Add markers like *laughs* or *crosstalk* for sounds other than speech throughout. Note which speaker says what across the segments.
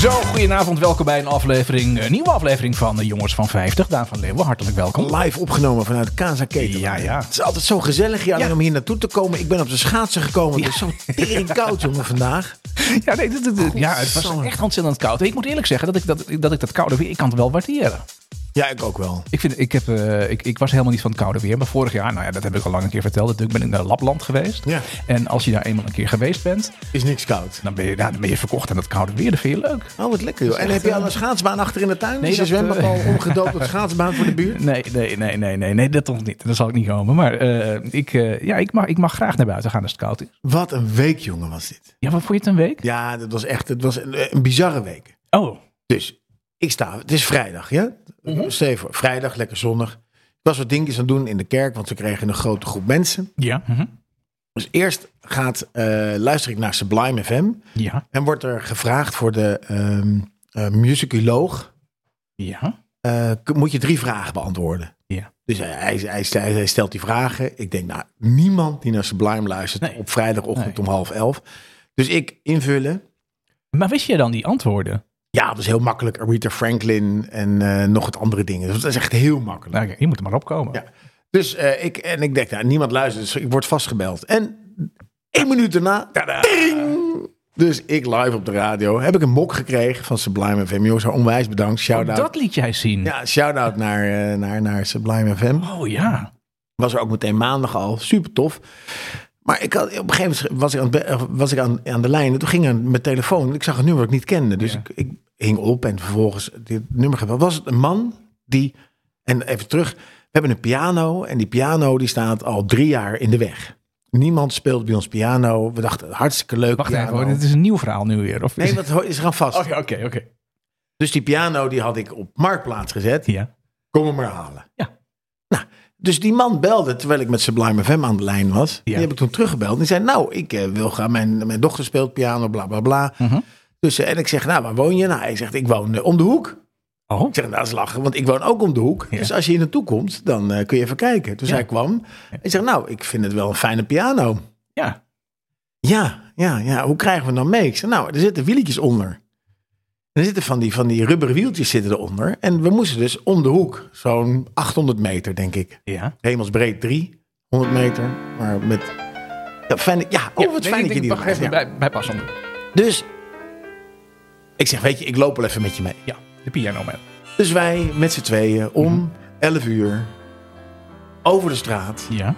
Speaker 1: Goedenavond, welkom bij een aflevering, een nieuwe aflevering van de Jongens van 50. Daan van Leeuwen, hartelijk welkom.
Speaker 2: Live opgenomen vanuit Casa Keten.
Speaker 1: Ja, ja.
Speaker 2: Het is altijd zo gezellig hier alleen
Speaker 1: Ja.
Speaker 2: om hier naartoe te komen. Ik ben op de schaatsen gekomen. Het is zo tering koud jongen vandaag.
Speaker 1: Ja, nee, dit- dit- dit- ja, het was
Speaker 2: Godsamme.
Speaker 1: echt ontzettend koud. Ik moet eerlijk zeggen dat ik dat, dat, ik dat koude weer, ik kan het wel waarderen.
Speaker 2: Ja, ik ook wel.
Speaker 1: Ik, vind, ik, heb, eh, ik, ik was helemaal niet van het koude weer. Maar vorig jaar, nou ja, dat heb ik al lang een keer verteld. Natuurlijk ben ik naar Lapland geweest.
Speaker 2: Ja.
Speaker 1: En als je daar eenmaal een keer geweest bent,
Speaker 2: Is niks koud.
Speaker 1: dan ben je, nou, dan ben je verkocht aan dat koude weer. Dat vind je leuk.
Speaker 2: Oh, wat lekker joh. En heb je al een schaatsbaan achter in de tuin?
Speaker 1: Nee,
Speaker 2: is de
Speaker 1: dat,
Speaker 2: zwembad
Speaker 1: eh,
Speaker 2: al omgedoopt tot schaatsbaan voor de buurt?
Speaker 1: Nee, nee, nee, nee, nee, nee, dat komt niet. Dat zal ik niet komen. Maar eh, ik, eh, ja, ik, mag, ik mag graag naar buiten gaan als het koud is.
Speaker 2: *laughs* Wat een week jongen was dit.
Speaker 1: Ja, wat vond je het een week?
Speaker 2: Ja, dat was echt het was een, een bizarre week.
Speaker 1: Oh,
Speaker 2: Dus ik sta, het is vrijdag, ja? Stel je voor, vrijdag, lekker zonnig. Ik was wat dingetjes aan het doen in de kerk, want we kregen een grote groep mensen.
Speaker 1: ja. mhm.
Speaker 2: Dus eerst gaat, eh, luister ik naar Sublime FM.
Speaker 1: Ja,
Speaker 2: En wordt er gevraagd voor de ehm eh, musicoloog,
Speaker 1: ja.
Speaker 2: eh, k- moet je drie vragen beantwoorden.
Speaker 1: Ja.
Speaker 2: Dus hij, hij, hij, hij- hij stelt die vragen. Ik denk, nou, niemand die naar Sublime luistert
Speaker 1: Nee.
Speaker 2: op vrijdagochtend
Speaker 1: Nee.
Speaker 2: om half elf. Dus ik invullen.
Speaker 1: Maar wist je dan die antwoorden?
Speaker 2: Ja, dat is heel makkelijk. Aretha Franklin en eh, nog wat andere dingen. Dus dat is echt heel makkelijk.
Speaker 1: Nou, oké, je moet er maar opkomen.
Speaker 2: Ja. Dus eh, ik, en ik denk, nou, niemand luistert, dus ik word vastgebeld. En één minuut daarna, tering! dus ik live op de radio, heb ik een mok gekregen van Sublime FM. Jongens, onwijs bedankt.
Speaker 1: Oh,
Speaker 2: Shout-out.
Speaker 1: dat liet jij zien.
Speaker 2: nou, Ja, shout-out naar, eh, naar, naar Sublime FM.
Speaker 1: Oh ja.
Speaker 2: Was er ook meteen maandag al, super tof. Maar ik had, op een gegeven moment was ik, aan, het be- eh, was ik aan, aan de lijn en toen ging aan mijn telefoon. Ik zag een nummer dat ik niet kende, dus
Speaker 1: Ja.
Speaker 2: ik, ik hing op en vervolgens dit nummer gebeld. Was het een man die, en even terug, we hebben een piano en die piano die staat al drie jaar in de weg. Niemand speelt bij ons piano. We dachten, hartstikke leuk
Speaker 1: Wacht
Speaker 2: piano.
Speaker 1: even hoor, dit is een nieuw verhaal nu weer. Of
Speaker 2: nou. Nee,
Speaker 1: is-
Speaker 2: dat is eraan vast.
Speaker 1: Oké, oké, oké.
Speaker 2: Dus die piano die had ik op Marktplaats gezet.
Speaker 1: Ja.
Speaker 2: Kom hem maar halen.
Speaker 1: Ja.
Speaker 2: Nou, dus die man belde terwijl ik met Sublime FM aan de lijn was. Die
Speaker 1: Ja.
Speaker 2: heb ik toen teruggebeld. En die zei, nou, ik eh, wil gaan, mijn, mijn dochter speelt piano, bla, bla, bla.
Speaker 1: Mhm.
Speaker 2: Dus, eh, en ik zeg, nou, waar woon je? Nou, hij zegt, ik woon eh, om de hoek.
Speaker 1: Oh.
Speaker 2: Ik zeg, nou, dat is lachen, want ik woon ook om de hoek.
Speaker 1: Ja.
Speaker 2: Dus als je hier naartoe komt, dan eh, kun je even kijken. Dus
Speaker 1: Ja.
Speaker 2: hij kwam. Hij zegt, nou, ik vind het wel een fijne piano.
Speaker 1: Ja.
Speaker 2: Ja, ja, ja. Hoe krijgen we het dan mee? Ik zei, nou, er zitten wieltjes onder. Er zitten van die, van die rubberen wieltjes zitten eronder. En we moesten dus om de hoek, zo'n 800 meter, denk ik.
Speaker 1: Ja.
Speaker 2: Hemelsbreed 300 meter, maar met... Ja, fijn, ja oh, wat
Speaker 1: Nee,
Speaker 2: fijn
Speaker 1: ik
Speaker 2: dat je
Speaker 1: denk,
Speaker 2: die
Speaker 1: wacht
Speaker 2: erbij
Speaker 1: even
Speaker 2: hebt,
Speaker 1: bij, bij Bas om.
Speaker 2: ja. Dus ik zeg, weet je, ik loop wel even met je mee.
Speaker 1: Ja, de piano man.
Speaker 2: Dus wij met z'n tweeën om
Speaker 1: Mhm.
Speaker 2: 11 uur over de straat
Speaker 1: Ja.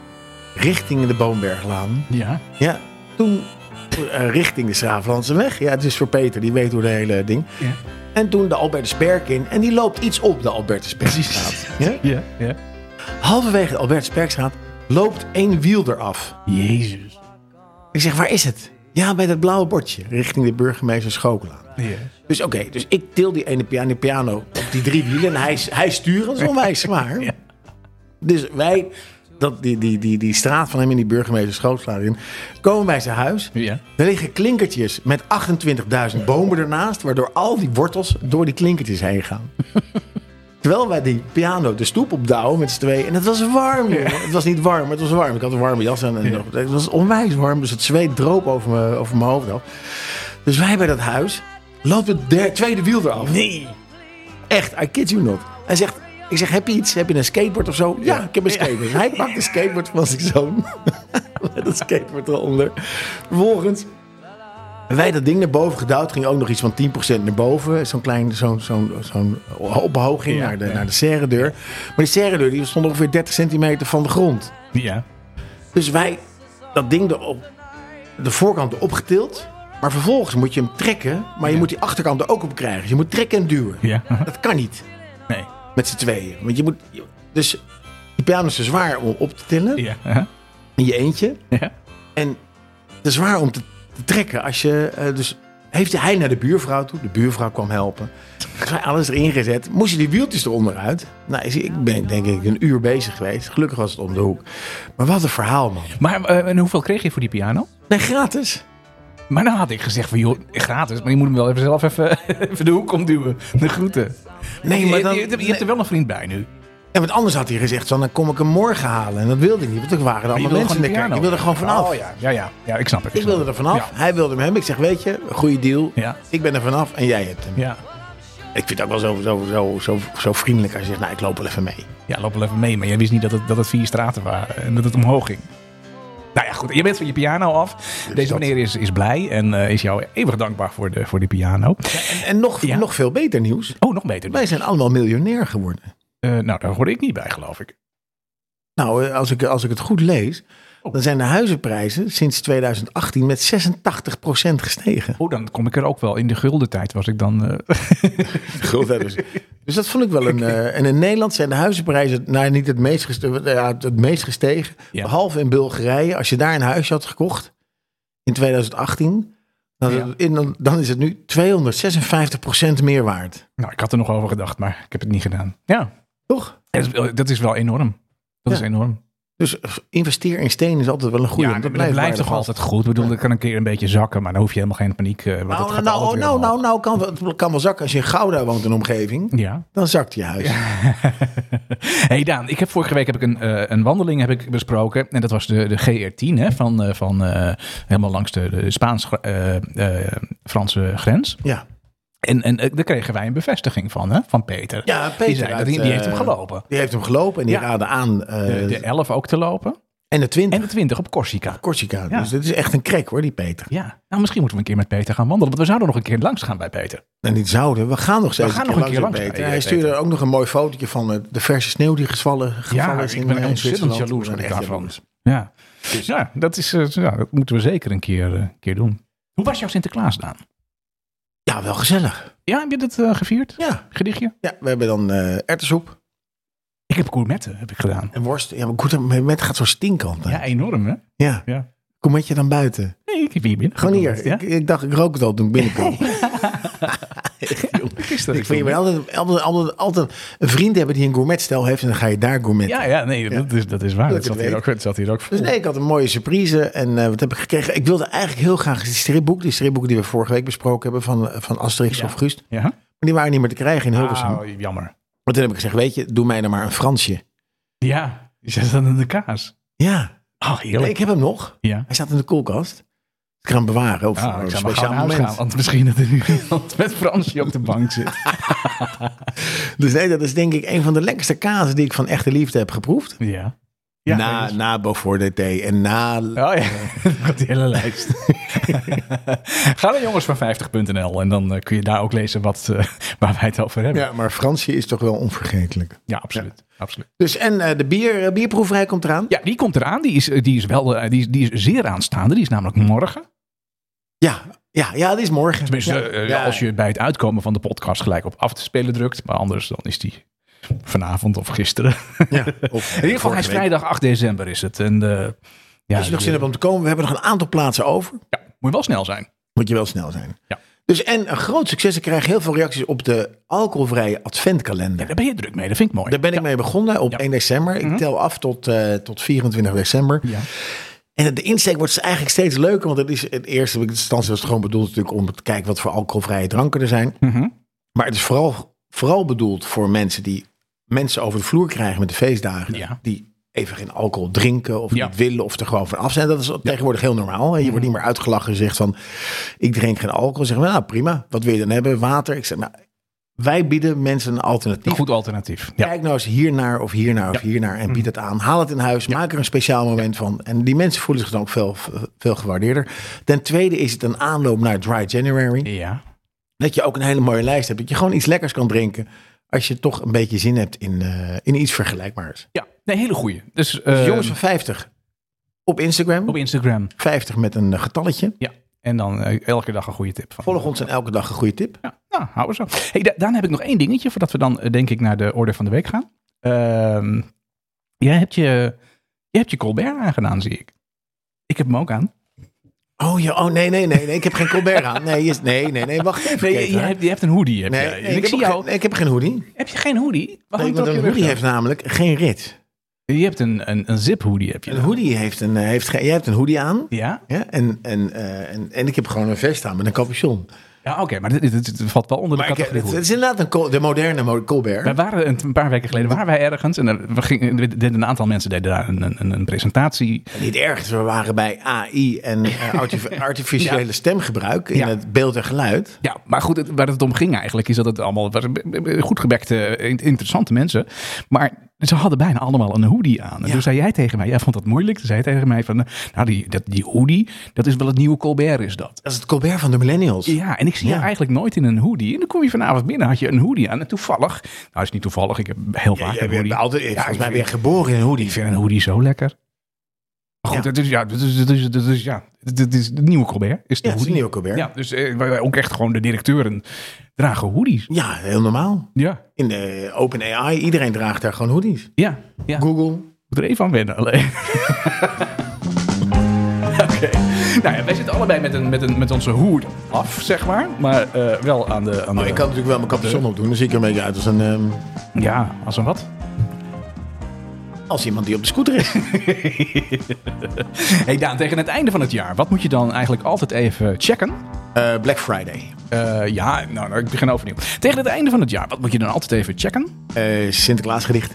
Speaker 2: richting de Boomberglaan.
Speaker 1: Ja.
Speaker 2: Ja, toen eh, richting de Schraaflandse Ja, het is voor Peter, die weet hoe de hele ding.
Speaker 1: Ja.
Speaker 2: En toen de Albertusperk in. En die loopt iets op de Albertusperkstraat. Ja?
Speaker 1: Ja. ja.
Speaker 2: Halverwege de Albertusperkstraat loopt één wiel eraf.
Speaker 1: Jezus.
Speaker 2: Ik zeg, waar is het? Ja, bij dat blauwe bordje, richting de burgemeester Schokelaan.
Speaker 1: Ja.
Speaker 2: Dus oké, dus ik til die ene piano, die piano op die drie wielen en hij, hij stuurt, dat is onwijs zwaar.
Speaker 1: *laughs* Ja.
Speaker 2: Dus wij, dat, die, die, die, die straat van hem in die burgemeester Schokelaan in, komen bij zijn huis.
Speaker 1: Ja.
Speaker 2: Er liggen klinkertjes met 28.000 bomen ernaast, waardoor al die wortels door die klinkertjes heen gaan. Terwijl wij die piano de stoep opdouwen met z'n tweeën. En het was warm, jongen. Het was niet warm, maar het was warm. Ik had een warme jas aan. En Het was onwijs warm, dus het zweet droop over, me, over mijn hoofd af. Dus wij bij dat huis loopt het der- tweede wiel eraf.
Speaker 1: Nee.
Speaker 2: Echt, I kid you not. Hij zegt, ik zeg, heb je iets? Heb je een skateboard of zo? Ja, ik heb een skateboard. Hij pakt een skateboard van zijn zoon. *laughs* Met een skateboard eronder. Vervolgens, wij dat ding naar boven gedouwd. Ging ook nog iets van 10% naar boven. Zo'n klein, zo'n zo'n zo'n ophoging
Speaker 1: Ja,
Speaker 2: naar, de,
Speaker 1: ja.
Speaker 2: naar de serredeur. Maar die serredeur die stond ongeveer 30 centimeter van de grond.
Speaker 1: Ja.
Speaker 2: Dus wij dat ding erop, de voorkant erop getild. Maar vervolgens moet je hem trekken. Maar je moet die achterkant er ook op krijgen. Dus je moet trekken en duwen.
Speaker 1: Ja. *laughs* aha.
Speaker 2: Dat kan niet.
Speaker 1: Nee.
Speaker 2: Met z'n tweeën. Want je moet. je- Dus die piano is te zwaar om op te tillen.
Speaker 1: Ja. aha.
Speaker 2: In je eentje.
Speaker 1: Ja.
Speaker 2: En te zwaar om te, te trekken. Als je. eh, dus heeft hij naar de buurvrouw toe. De buurvrouw kwam helpen. Dus hij alles erin gezet. Moest je die wieltjes eronder uit. Nou, is- ik ben denk ik een uur bezig geweest. Gelukkig was het om de hoek. Maar wat een verhaal, man.
Speaker 1: Maar eh, en hoeveel kreeg je voor die piano?
Speaker 2: Nee, gratis.
Speaker 1: Maar dan had ik gezegd van, joh, gratis, maar je moet hem wel even zelf even, *laughs* even de hoek omduwen. De groeten.
Speaker 2: Nee, maar dan,
Speaker 1: je, je, je hebt er wel een vriend bij nu.
Speaker 2: Ja, want anders had hij gezegd: van, dan kom ik hem morgen halen. En dat wilde ik niet. Want er waren er
Speaker 1: Maar je
Speaker 2: allemaal
Speaker 1: wilde
Speaker 2: mensen in de
Speaker 1: gewoon
Speaker 2: kerk.
Speaker 1: die
Speaker 2: Ik wilde er gewoon vanaf.
Speaker 1: Oh ja, ja, ja, ja ik snap het.
Speaker 2: Ik wilde
Speaker 1: snap
Speaker 2: er vanaf.
Speaker 1: het.
Speaker 2: Hij wilde hem hebben. Ik zeg, weet je, goede deal.
Speaker 1: Ja.
Speaker 2: Ik ben er vanaf en jij hebt hem.
Speaker 1: Ja. ja.
Speaker 2: Ik vind het ook wel zo, zo, zo, zo, zo vriendelijk als je zegt, nou ik loop wel even mee.
Speaker 1: Ja, loop wel even mee. Maar jij wist niet dat het, dat het vier straten waren en dat het omhoog ging. Nou ja, goed. Je bent van je piano af. Deze
Speaker 2: Dus dat.
Speaker 1: meneer is, is blij en eh, is jou eeuwig dankbaar voor de, voor de piano.
Speaker 2: En, en nog,
Speaker 1: Ja.
Speaker 2: nog veel beter nieuws.
Speaker 1: Oh, nog beter.
Speaker 2: Wij zijn allemaal miljonair geworden.
Speaker 1: Eh, nou, daar hoorde ik niet bij, geloof ik.
Speaker 2: Nou, eh, als ik, als ik het goed lees,
Speaker 1: Oh.
Speaker 2: dan zijn de huizenprijzen sinds 2018 met 86% gestegen.
Speaker 1: Oh, dan kom ik er ook wel. In de gulden tijd was ik dan... eh, *laughs*
Speaker 2: *laughs* Dus dat vond ik wel een. eh, en in Nederland zijn de huizenprijzen nou, niet het meest gestegen, ja, het- het meest gestegen.
Speaker 1: Ja.
Speaker 2: Behalve in Bulgarije. Als je daar een huisje had gekocht in 2018, dan,
Speaker 1: Ja.
Speaker 2: in- dan- dan is het nu 256% meer waard.
Speaker 1: nou, ik had er nog over gedacht, maar ik heb het niet gedaan. Ja,
Speaker 2: Toch?
Speaker 1: dat is, wel- dat is wel enorm. Dat
Speaker 2: Ja.
Speaker 1: is enorm.
Speaker 2: Dus eh, investeer in steen is altijd wel een goede.
Speaker 1: ja,
Speaker 2: want
Speaker 1: dat blijft, toch
Speaker 2: waardevol.
Speaker 1: altijd goed. Ik bedoel, dat kan een keer een beetje zakken, maar dan hoef je helemaal geen paniek. eh, want het
Speaker 2: Nou,
Speaker 1: gaat
Speaker 2: nou,
Speaker 1: altijd
Speaker 2: nou,
Speaker 1: weer
Speaker 2: nou,
Speaker 1: omhoog.
Speaker 2: nou, nou kan, wel- kan wel zakken. Als je in Gouda woont in de omgeving,
Speaker 1: Ja.
Speaker 2: dan zakt je huis.
Speaker 1: hey Daan, ik heb vorige week heb ik een, eh, een wandeling heb ik besproken. En dat was de, de GR10 hè, van, eh, van eh, helemaal langs de, de Spaans-Franse eh, grens.
Speaker 2: Ja.
Speaker 1: En, en eh, daar kregen wij een bevestiging van, hè, van Peter.
Speaker 2: ja, Peter.
Speaker 1: die, zei, dat
Speaker 2: uit,
Speaker 1: die, die heeft
Speaker 2: eh,
Speaker 1: hem gelopen.
Speaker 2: Die heeft hem gelopen en die
Speaker 1: Ja.
Speaker 2: raadde aan eh,
Speaker 1: De, de 11 ook te lopen.
Speaker 2: en de 20
Speaker 1: En de 20 op Corsica.
Speaker 2: Corsica.
Speaker 1: Ja.
Speaker 2: Dus dit is echt een krek hoor, die Peter.
Speaker 1: Ja, nou misschien moeten we een keer met Peter gaan wandelen. Want we zouden nog een keer langs gaan bij Peter.
Speaker 2: En niet zouden. We gaan nog steeds
Speaker 1: gaan nog een keer langs
Speaker 2: Peter.
Speaker 1: bij, eh,
Speaker 2: Hij stuurde
Speaker 1: Peter.
Speaker 2: ook nog een mooi fotootje van eh, de verse sneeuw die gevallen, gevallen
Speaker 1: Ja,
Speaker 2: is.
Speaker 1: ik ben
Speaker 2: eh,
Speaker 1: ontzettend
Speaker 2: Zwitserland.
Speaker 1: jaloers
Speaker 2: Ik
Speaker 1: op
Speaker 2: ben
Speaker 1: ik
Speaker 2: echt
Speaker 1: daarvan.
Speaker 2: jaloers.
Speaker 1: Ja.
Speaker 2: Dus-
Speaker 1: ja, dat, is, eh, ja, dat moeten we zeker een keer, eh, keer doen. Hoe was jouw Sinterklaas, Daan?
Speaker 2: Ja, wel gezellig.
Speaker 1: Ja, heb je dat eh, gevierd?
Speaker 2: Ja.
Speaker 1: Gedichtje?
Speaker 2: ja, we hebben dan eh erwtensoep
Speaker 1: Ik heb gourmetten, heb ik gedaan.
Speaker 2: en worst. Ja, maar goed, met gaat zo stinken altijd.
Speaker 1: Ja, enorm hè?
Speaker 2: Ja.
Speaker 1: Ja.
Speaker 2: Kom met je dan buiten.
Speaker 1: Nee, ik heb hier binnen.
Speaker 2: Gewoon hier.
Speaker 1: geprobeerd,
Speaker 2: Ik, ik dacht, ik rook het al toen ik
Speaker 1: *laughs*
Speaker 2: binnenkwam. *laughs*
Speaker 1: Ja? Gisteren.
Speaker 2: ik vind je moet altijd, altijd, altijd, altijd een vriend hebben die een gourmetstel heeft en dan ga je daar gourmet.
Speaker 1: Ja, ja, nee, dat is, dat is waar.
Speaker 2: Dat
Speaker 1: Dat zat
Speaker 2: het
Speaker 1: hier
Speaker 2: weet.
Speaker 1: ook, dat zat hier ook voor.
Speaker 2: Dus nee, ik had een mooie surprise. En eh, wat heb ik gekregen? Ik wilde eigenlijk heel graag die stripboek, die stripboeken die we vorige week besproken hebben van, eh, van Asterix
Speaker 1: Ja.
Speaker 2: of Gust. Maar
Speaker 1: Ja?
Speaker 2: die waren niet meer te krijgen in Hilversum.
Speaker 1: Ah, jammer.
Speaker 2: Maar toen heb ik gezegd, weet je, doe mij dan maar een Fransje.
Speaker 1: Ja, je zet dat in de kaas.
Speaker 2: Ja,
Speaker 1: Oh, heerlijk.
Speaker 2: ik heb hem nog.
Speaker 1: Ja.
Speaker 2: Hij staat in de koelkast. Ik ga hem bewaren of
Speaker 1: Ah,
Speaker 2: Oh, een
Speaker 1: ik zou maar
Speaker 2: speciaal
Speaker 1: gaan
Speaker 2: moment.
Speaker 1: huis gaan, want misschien dat er nu iemand *laughs* met Fransje op de bank zit.
Speaker 2: Dus nee, dat is denk ik een van de lekkerste kazen die ik van echte liefde heb geproefd.
Speaker 1: Ja. ja
Speaker 2: na, na Beaufort DT en na...
Speaker 1: Oh ja, *laughs* dat die hele lijst. *laughs* Ga naar jongensvan50.nl en dan eh, kun je daar ook lezen wat, eh, waar wij het over hebben. Ja,
Speaker 2: Ja, maar Fransje is toch wel onvergetelijk.
Speaker 1: absoluut. absoluut.
Speaker 2: Dus en eh, de bier, eh, bierproeverij komt eraan.
Speaker 1: Ja, die komt eraan. Die is, eh, die, is wel, eh, die, is, die is zeer aanstaande. Die is namelijk morgen.
Speaker 2: Ja, ja, ja, die is morgen.
Speaker 1: Tenminste,
Speaker 2: Ja.
Speaker 1: eh,
Speaker 2: Ja.
Speaker 1: als je bij het uitkomen van de podcast gelijk op af te spelen drukt. Maar anders dan is die vanavond of gisteren.
Speaker 2: Ja,
Speaker 1: *laughs* In ieder geval, hij is vrijdag 8 december is het. En, eh, ja, eh,
Speaker 2: Als je nog
Speaker 1: die-
Speaker 2: zin hebt om te komen, we hebben nog een aantal plaatsen over.
Speaker 1: ja, moet je wel snel zijn.
Speaker 2: Moet je wel snel zijn.
Speaker 1: Ja.
Speaker 2: Dus en een groot succes. Ik krijg heel veel reacties op de alcoholvrije adventkalender.
Speaker 1: Daar ben je druk mee. Dat vind ik mooi.
Speaker 2: Daar ben ik mee begonnen op 1 december. Ik tel af tot, eh, tot 24 december.
Speaker 1: Mhm. Ja.
Speaker 2: En de insteek wordt eigenlijk steeds leuker. Want het is het eerste in instantie was het gewoon bedoeld natuurlijk om te kijken wat voor alcoholvrije dranken er zijn.
Speaker 1: Mhm.
Speaker 2: Maar het is vooral, vooral bedoeld voor mensen die mensen over de vloer krijgen met de feestdagen.
Speaker 1: Ja.
Speaker 2: Die even geen alcohol drinken of
Speaker 1: Ja. Mhm.
Speaker 2: niet willen of er gewoon van af zijn. Dat is tegenwoordig heel normaal. hè. Je wordt niet meer uitgelachen gezegd van ik drink geen alcohol. Zeggen we nou prima, wat wil je dan hebben? Water? Ik zeg nou, wij bieden mensen een alternatief.
Speaker 1: Een goed alternatief. Ja.
Speaker 2: Kijk nou eens hiernaar of hiernaar of hiernaar en bied
Speaker 1: Mhm.
Speaker 2: het aan. Haal het in huis, maak er een speciaal moment van. En die mensen voelen zich dan ook veel, veel gewaardeerder. Ten tweede is het een aanloop naar Dry January.
Speaker 1: ja.
Speaker 2: Dat je ook een hele mooie lijst hebt. Dat je gewoon iets lekkers kan drinken. Als je toch een beetje zin hebt in, eh, in iets vergelijkbaars.
Speaker 1: Ja, nee, hele goeie. Dus,
Speaker 2: Dus
Speaker 1: eh,
Speaker 2: jongens van 50 op Instagram.
Speaker 1: op Instagram.
Speaker 2: 50 met een eh, getalletje.
Speaker 1: Ja. En dan eh, elke dag een goede tip van.
Speaker 2: Volg ons en elke dag een goede tip.
Speaker 1: Ja, nou, hou zo. Hey, da- Daan, heb ik nog één dingetje voordat we dan, eh, denk ik, naar de orde van de week gaan. Ehm, jij, hebt je, jij hebt je Colbert aangedaan, zie ik. Ik heb hem ook aan.
Speaker 2: Oh, ja, oh nee, nee, nee, nee. Ik heb geen Colbert aan. Nee, is, nee, nee, nee. Wacht even.
Speaker 1: Nee, je,
Speaker 2: Kees,
Speaker 1: je
Speaker 2: hè?
Speaker 1: hebt, je hebt een hoodie. Heb
Speaker 2: nee,
Speaker 1: jij.
Speaker 2: nee,
Speaker 1: En ik
Speaker 2: ik, heb
Speaker 1: zie
Speaker 2: ook
Speaker 1: jou.
Speaker 2: geen, nee, ik heb geen hoedie.
Speaker 1: Heb je geen hoodie? Waar
Speaker 2: Nee,
Speaker 1: hangt
Speaker 2: want
Speaker 1: dat
Speaker 2: een
Speaker 1: je
Speaker 2: hoodie
Speaker 1: rug
Speaker 2: heeft namelijk geen rit.
Speaker 1: dan? Je hebt een, een, een zip hoodie. Heb je
Speaker 2: Een
Speaker 1: dan.
Speaker 2: hoodie heeft een, eh, heeft geen, jij hebt een hoodie aan.
Speaker 1: Ja,
Speaker 2: Ja, en, en, eh, en, en ik heb gewoon een vest aan met een capuchon.
Speaker 1: Ja, oké, maar dit, dit- dit valt wel onder de
Speaker 2: Maar ik-
Speaker 1: categorie.
Speaker 2: het,
Speaker 1: humor.
Speaker 2: het is inderdaad een Col- de moderne Mo- Colbert.
Speaker 1: Wij waren een, een paar weken geleden waren wij ergens en er- we gingen, we deden- een aantal mensen deden daar een, een, een presentatie.
Speaker 2: Niet erg, dus we waren bij AI en *laughs* eh, artif- artificiële stemgebruik in
Speaker 1: Ja.
Speaker 2: het beeld en geluid.
Speaker 1: Ja, maar goed, het- waar het om ging eigenlijk is dat het allemaal het waren b- b- goed gebekte, in- interessante mensen. Maar ze hadden bijna allemaal een hoodie aan. En
Speaker 2: Ja.
Speaker 1: toen zei jij tegen mij, jij vond dat moeilijk. Toen zei jij tegen mij van, nou die, dat, die hoodie, dat is wel het nieuwe Colbert is dat.
Speaker 2: Dat is het Colbert van de millennials.
Speaker 1: Ja, en ik zie
Speaker 2: Ja.
Speaker 1: je eigenlijk nooit in een hoodie. En dan kom je vanavond binnen, had je een hoodie aan. En toevallig, nou is niet toevallig, ik heb heel vaak
Speaker 2: Jij
Speaker 1: een
Speaker 2: bent
Speaker 1: hoodie.
Speaker 2: altijd,
Speaker 1: Ja,
Speaker 2: volgens
Speaker 1: ik
Speaker 2: mij
Speaker 1: vind-
Speaker 2: weer geboren in een
Speaker 1: Ik
Speaker 2: hoodie.
Speaker 1: vind een hoodie zo lekker. Maar goed,
Speaker 2: Ja.
Speaker 1: dat is, ja, dat is, dat is, dat is, ja, dat is de nieuwe Colbert. Is de
Speaker 2: Ja, het is
Speaker 1: hoodie.
Speaker 2: een nieuwe Colbert. Ja.
Speaker 1: Ja, dus eh, wij, wij ook echt gewoon de directeuren dragen hoodies.
Speaker 2: heel normaal.
Speaker 1: Ja,
Speaker 2: In de open AI, iedereen draagt daar gewoon hoodies. Oh,
Speaker 1: ja, ja.
Speaker 2: Google.
Speaker 1: moet er even aan wennen *laughs* alleen. Oké. Nou ja, wij zitten allebei met, een, met, een, met onze hoed af, zeg maar. Maar eh, wel aan de... Aan de
Speaker 2: Maar Oh, ik kan natuurlijk wel mijn capuchon opdoen, dan zie ik er een beetje uit als, een, ehm,
Speaker 1: Ja, als een wat.
Speaker 2: als iemand die op de scooter *laughs* is.
Speaker 1: hey Daan, tegen het einde van het jaar, wat moet je dan eigenlijk altijd even checken?
Speaker 2: Eh, Black Friday.
Speaker 1: Eh, ja, nou, nou, ik begin overnieuw. Tegen het einde van het jaar, wat moet je dan altijd even checken?
Speaker 2: Eh Sinterklaasgedicht.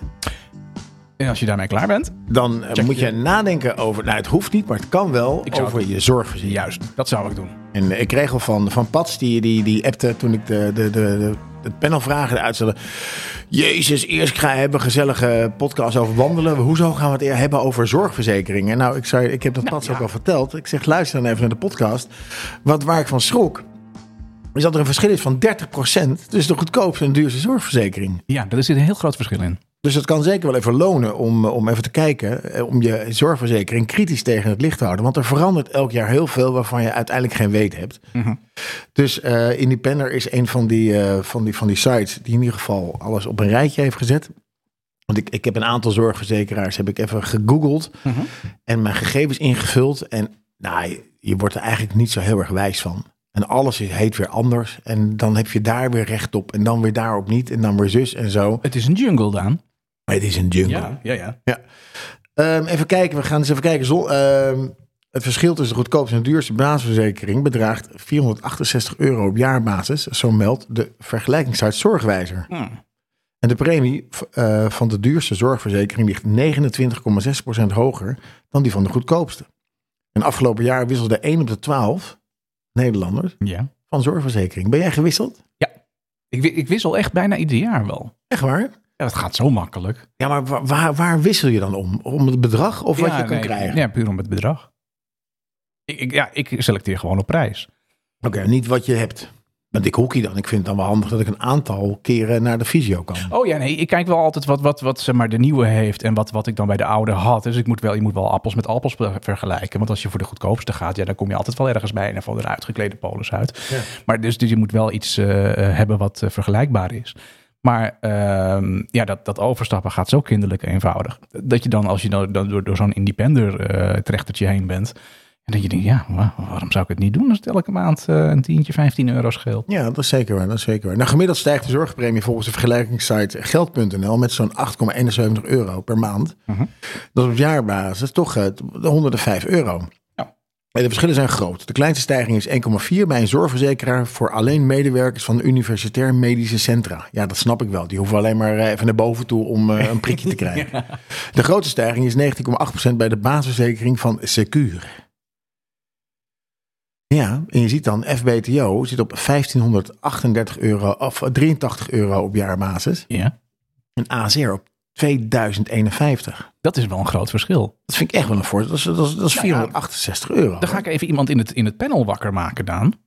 Speaker 1: En als je daarmee klaar bent,
Speaker 2: Dan eh, moet je nadenken over, nou het hoeft niet, maar het kan wel,
Speaker 1: zou
Speaker 2: over
Speaker 1: het-
Speaker 2: je zorgverzekering.
Speaker 1: juist, dat zou ik doen.
Speaker 2: En eh, ik kreeg al van, van Pats, die, die, die appte toen ik de, de, de, de, het panelvragen uitstelde. Jezus, eerst ga, hebben we een gezellige podcast over wandelen. Hoezo gaan we het eer hebben over zorgverzekeringen? Nou, ik, zei, ik heb dat Pats
Speaker 1: ja.
Speaker 2: ook al verteld. Ik zeg, luister dan even naar de podcast. Wat waar ik van schrok, is dat er een verschil is van 30% tussen de goedkoopste en duurste zorgverzekering.
Speaker 1: Ja, daar zit een heel groot verschil in.
Speaker 2: Dus het kan zeker wel even lonen om, eh, om even te kijken, eh, om je zorgverzekering kritisch tegen het licht te houden. Want er verandert elk jaar heel veel waarvan je uiteindelijk geen weet hebt.
Speaker 1: Mhm.
Speaker 2: Dus eh Independer is een van die, eh, van, die, van die sites die in ieder geval alles op een rijtje heeft gezet. Want ik, ik heb een aantal zorgverzekeraars, heb ik even gegoogeld
Speaker 1: Mhm.
Speaker 2: en mijn gegevens ingevuld. En nou, je, je wordt er eigenlijk niet zo heel erg wijs van. En alles is- heet weer anders. En dan heb je daar weer recht op. En dan weer daarop niet. En dan weer zus en zo.
Speaker 1: Het is een jungle, Daan.
Speaker 2: Maar het is een jungle.
Speaker 1: ja, ja.
Speaker 2: Ehm, even kijken, we gaan eens even kijken. Zo, ehm, het verschil tussen de goedkoopste en duurste basisverzekering bedraagt 468 euro op jaarbasis. Zo meldt de vergelijkingssite Zorgwijzer.
Speaker 1: Hmm.
Speaker 2: En de premie v- eh, van de duurste zorgverzekering ligt 29,6% hoger dan die van de goedkoopste. En afgelopen jaar wisselde 1 op de 12 Nederlanders
Speaker 1: ja.
Speaker 2: van zorgverzekering. Ben jij gewisseld?
Speaker 1: Ik, wi- ik wissel echt bijna ieder jaar wel.
Speaker 2: Echt waar?
Speaker 1: Ja, dat gaat zo makkelijk.
Speaker 2: Ja, maar wa- waar, waar wissel je dan om? Om het bedrag of wat
Speaker 1: Ja,
Speaker 2: je kan
Speaker 1: nee,
Speaker 2: krijgen?
Speaker 1: Ja, puur om het bedrag. Ik, ik, ja, ik selecteer gewoon op prijs.
Speaker 2: Oké, niet wat je hebt. Want ik hockey dan. Ik vind het dan wel handig dat ik een aantal keren naar de fysio kan.
Speaker 1: Oh ja, nee, ik kijk wel altijd wat, wat, wat zeg maar, de nieuwe heeft en wat, wat ik dan bij de oude had. Dus ik moet wel, je moet wel appels met appels be- vergelijken. Want als je voor de goedkoopste gaat, ja, dan kom je altijd wel ergens bij een of andere uitgeklede polis uit. Maar dus, dus je moet wel iets eh, eh, hebben wat eh, vergelijkbaar is. Maar ehm, ja, dat, dat overstappen gaat zo kinderlijk eenvoudig. Dat je dan, als je dan, dan door, door zo'n independer eh, trechtertje heen bent... En dat je denkt, ja, wa- waarom zou ik het niet doen als het elke maand eh, een tientje, 15 euro scheelt?
Speaker 2: Ja, dat is zeker waar. Dat is zeker waar. Nou, gemiddeld stijgt de zorgpremie volgens de vergelijkingssite geld.nl met zo'n 8,71 euro per maand.
Speaker 1: Mhm.
Speaker 2: Dat is op jaarbasis toch eh, 105 euro.
Speaker 1: Ja.
Speaker 2: En de verschillen zijn groot. De kleinste stijging is 1,4 bij een zorgverzekeraar voor alleen medewerkers van universitair medische centra. Ja, dat snap ik wel. Die hoeven alleen maar eh, even naar boven toe om eh, een prikje
Speaker 1: *laughs*
Speaker 2: te krijgen. De grootste stijging is 19,8% bij de basisverzekering van Secuur. Ja, en je ziet dan FBTO zit op 1538 euro of 83 euro op jaarbasis
Speaker 1: Ja,
Speaker 2: en AZR op 2051.
Speaker 1: dat is wel een groot verschil.
Speaker 2: Dat vind ik echt wel een voordeel. Dat is, dat is, dat is
Speaker 1: Nou Ja, ja.
Speaker 2: 468 euro.
Speaker 1: Dan ga ik even iemand in het, in het panel wakker maken, Daan.
Speaker 2: Nou,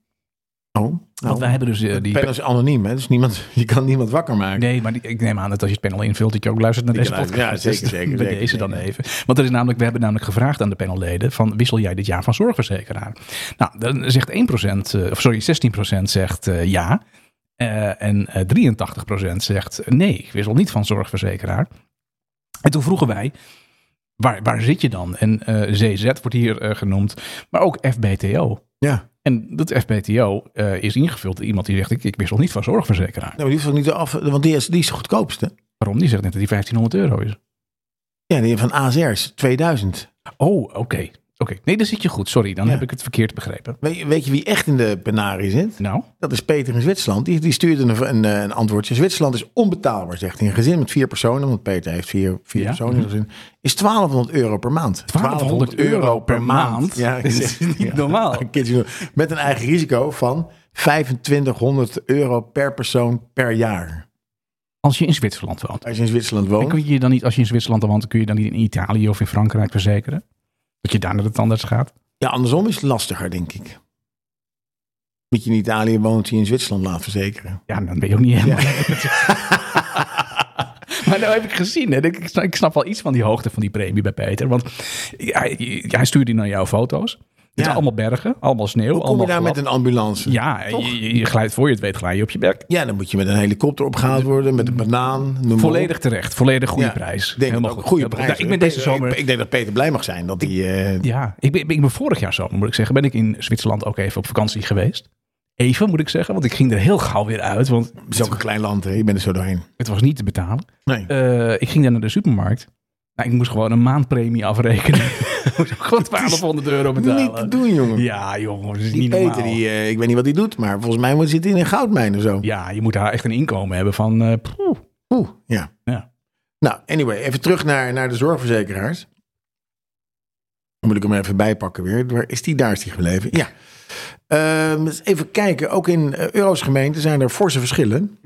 Speaker 2: Oh, nou,
Speaker 1: Want wij hebben dus eh, die...
Speaker 2: die pen is anoniem, hè? dus niemand, *laughs* je kan niemand wakker maken.
Speaker 1: Nee, maar die- ik neem aan dat als je het panel invult, dat je ook luistert naar
Speaker 2: Ik
Speaker 1: deze
Speaker 2: luister-
Speaker 1: podcast.
Speaker 2: ja,
Speaker 1: Dus *laughs*
Speaker 2: zeker, zeker,
Speaker 1: Bij
Speaker 2: zeker,
Speaker 1: deze dan
Speaker 2: zeker.
Speaker 1: even. Want er is namelijk, we hebben namelijk gevraagd aan de panelleden van wissel jij dit jaar van zorgverzekeraar? Nou, dan zegt 1%, eh, of sorry, 16% zegt eh, ja. Eh, en eh, 83% zegt eh, nee, ik wissel niet van zorgverzekeraar. En toen vroegen wij, waar, waar zit je dan? En eh, ZZ wordt hier eh, genoemd, maar ook FBTO.
Speaker 2: Ja.
Speaker 1: En dat FBTO eh, is ingevuld door iemand die zegt, ik, ik wissel niet van zorgverzekeraar.
Speaker 2: Nou, die hoeft ook niet af, want die is, die is de goedkoopste.
Speaker 1: Waarom? Die zegt net dat die 1500 euro is.
Speaker 2: Ja, die van AZR is 2000.
Speaker 1: Oh, oké. Oké, nee, dan zit je goed. Sorry, dan
Speaker 2: Ja.
Speaker 1: heb ik het verkeerd begrepen.
Speaker 2: Weet, je- weet je wie echt in de penarie zit?
Speaker 1: Nou,
Speaker 2: Dat is Peter in Zwitserland. Die, die stuurde een, een, eh, een antwoordje. Zwitserland is onbetaalbaar, zegt hij. Een gezin met vier personen, want Peter heeft vier, vier
Speaker 1: Ja.
Speaker 2: personen in zijn gezin, is 1200 euro per maand.
Speaker 1: 1200 euro per maand?
Speaker 2: *laughs* Ja,
Speaker 1: Dit is niet normaal.
Speaker 2: een kindje. Met een eigen risico van 2500 euro per persoon per jaar.
Speaker 1: als je in Zwitserland woont.
Speaker 2: Als je in Zwitserland
Speaker 1: En
Speaker 2: woont.
Speaker 1: kun je je dan niet, als je in Zwitserland woont, kun je dan niet in Italië of in Frankrijk verzekeren? Dat je daar naar de tandarts gaat?
Speaker 2: Ja, andersom is het lastiger, denk ik. Dat je in Italië woont, die je in Zwitserland laat verzekeren.
Speaker 1: Ja, dan ben je ook niet helemaal...
Speaker 2: *laughs*
Speaker 1: maar nou heb ik gezien, hè. Ik, ik snap- ik snap wel iets van die hoogte van die premie bij Peter. Want hij, hij stuurde naar jouw foto's. Het
Speaker 2: Ja.
Speaker 1: zijn allemaal bergen, allemaal sneeuw.
Speaker 2: Hoe kom
Speaker 1: allemaal
Speaker 2: je daar
Speaker 1: glad.
Speaker 2: met een ambulance?
Speaker 1: Ja, je, je- je glijdt voor je het weet, glij je op je bek.
Speaker 2: Ja, dan moet je met een helikopter opgehaald worden, met een banaan. noem maar op.
Speaker 1: Volledig terecht, volledig goede
Speaker 2: Ja,
Speaker 1: prijs.
Speaker 2: Ik Denk
Speaker 1: Helemaal
Speaker 2: ook
Speaker 1: goed.
Speaker 2: Goede
Speaker 1: Ja,
Speaker 2: prijs.
Speaker 1: nou, ik ben deze
Speaker 2: Peter-
Speaker 1: zomer...
Speaker 2: Ik, ik denk dat Peter blij mag zijn dat hij. eh,
Speaker 1: Ja, ik ben, ik ben vorig jaar zomer, moet ik zeggen, ben ik in Zwitserland ook even op vakantie geweest. Even, moet ik zeggen, want ik ging er heel gauw weer uit, want
Speaker 2: het is ook een klein land, hè? je bent er zo doorheen.
Speaker 1: het was niet te betalen.
Speaker 2: Nee.
Speaker 1: Eh, ik ging daar naar de supermarkt. Nou, ik moest gewoon een maandpremie
Speaker 2: *laughs*
Speaker 1: afrekenen. Ik moest ook gewoon 1200 euro
Speaker 2: niet te
Speaker 1: betalen.
Speaker 2: doen, jongen.
Speaker 1: Ja, jongen, dat is
Speaker 2: die
Speaker 1: niet
Speaker 2: Peter,
Speaker 1: normaal.
Speaker 2: die, eh, ik weet niet wat hij doet, maar volgens mij moet- zit hij in een goudmijn of zo.
Speaker 1: Ja, je moet daar echt een inkomen hebben van... eh, poeh.
Speaker 2: Oeh, ja.
Speaker 1: Ja.
Speaker 2: Nou, anyway, even terug naar, naar de zorgverzekeraars. Dan moet ik hem er even bijpakken weer. Waar Is die daar is die gebleven? Ja. Ehm, eens even kijken, ook in eh, Euro's gemeenten zijn er forse verschillen.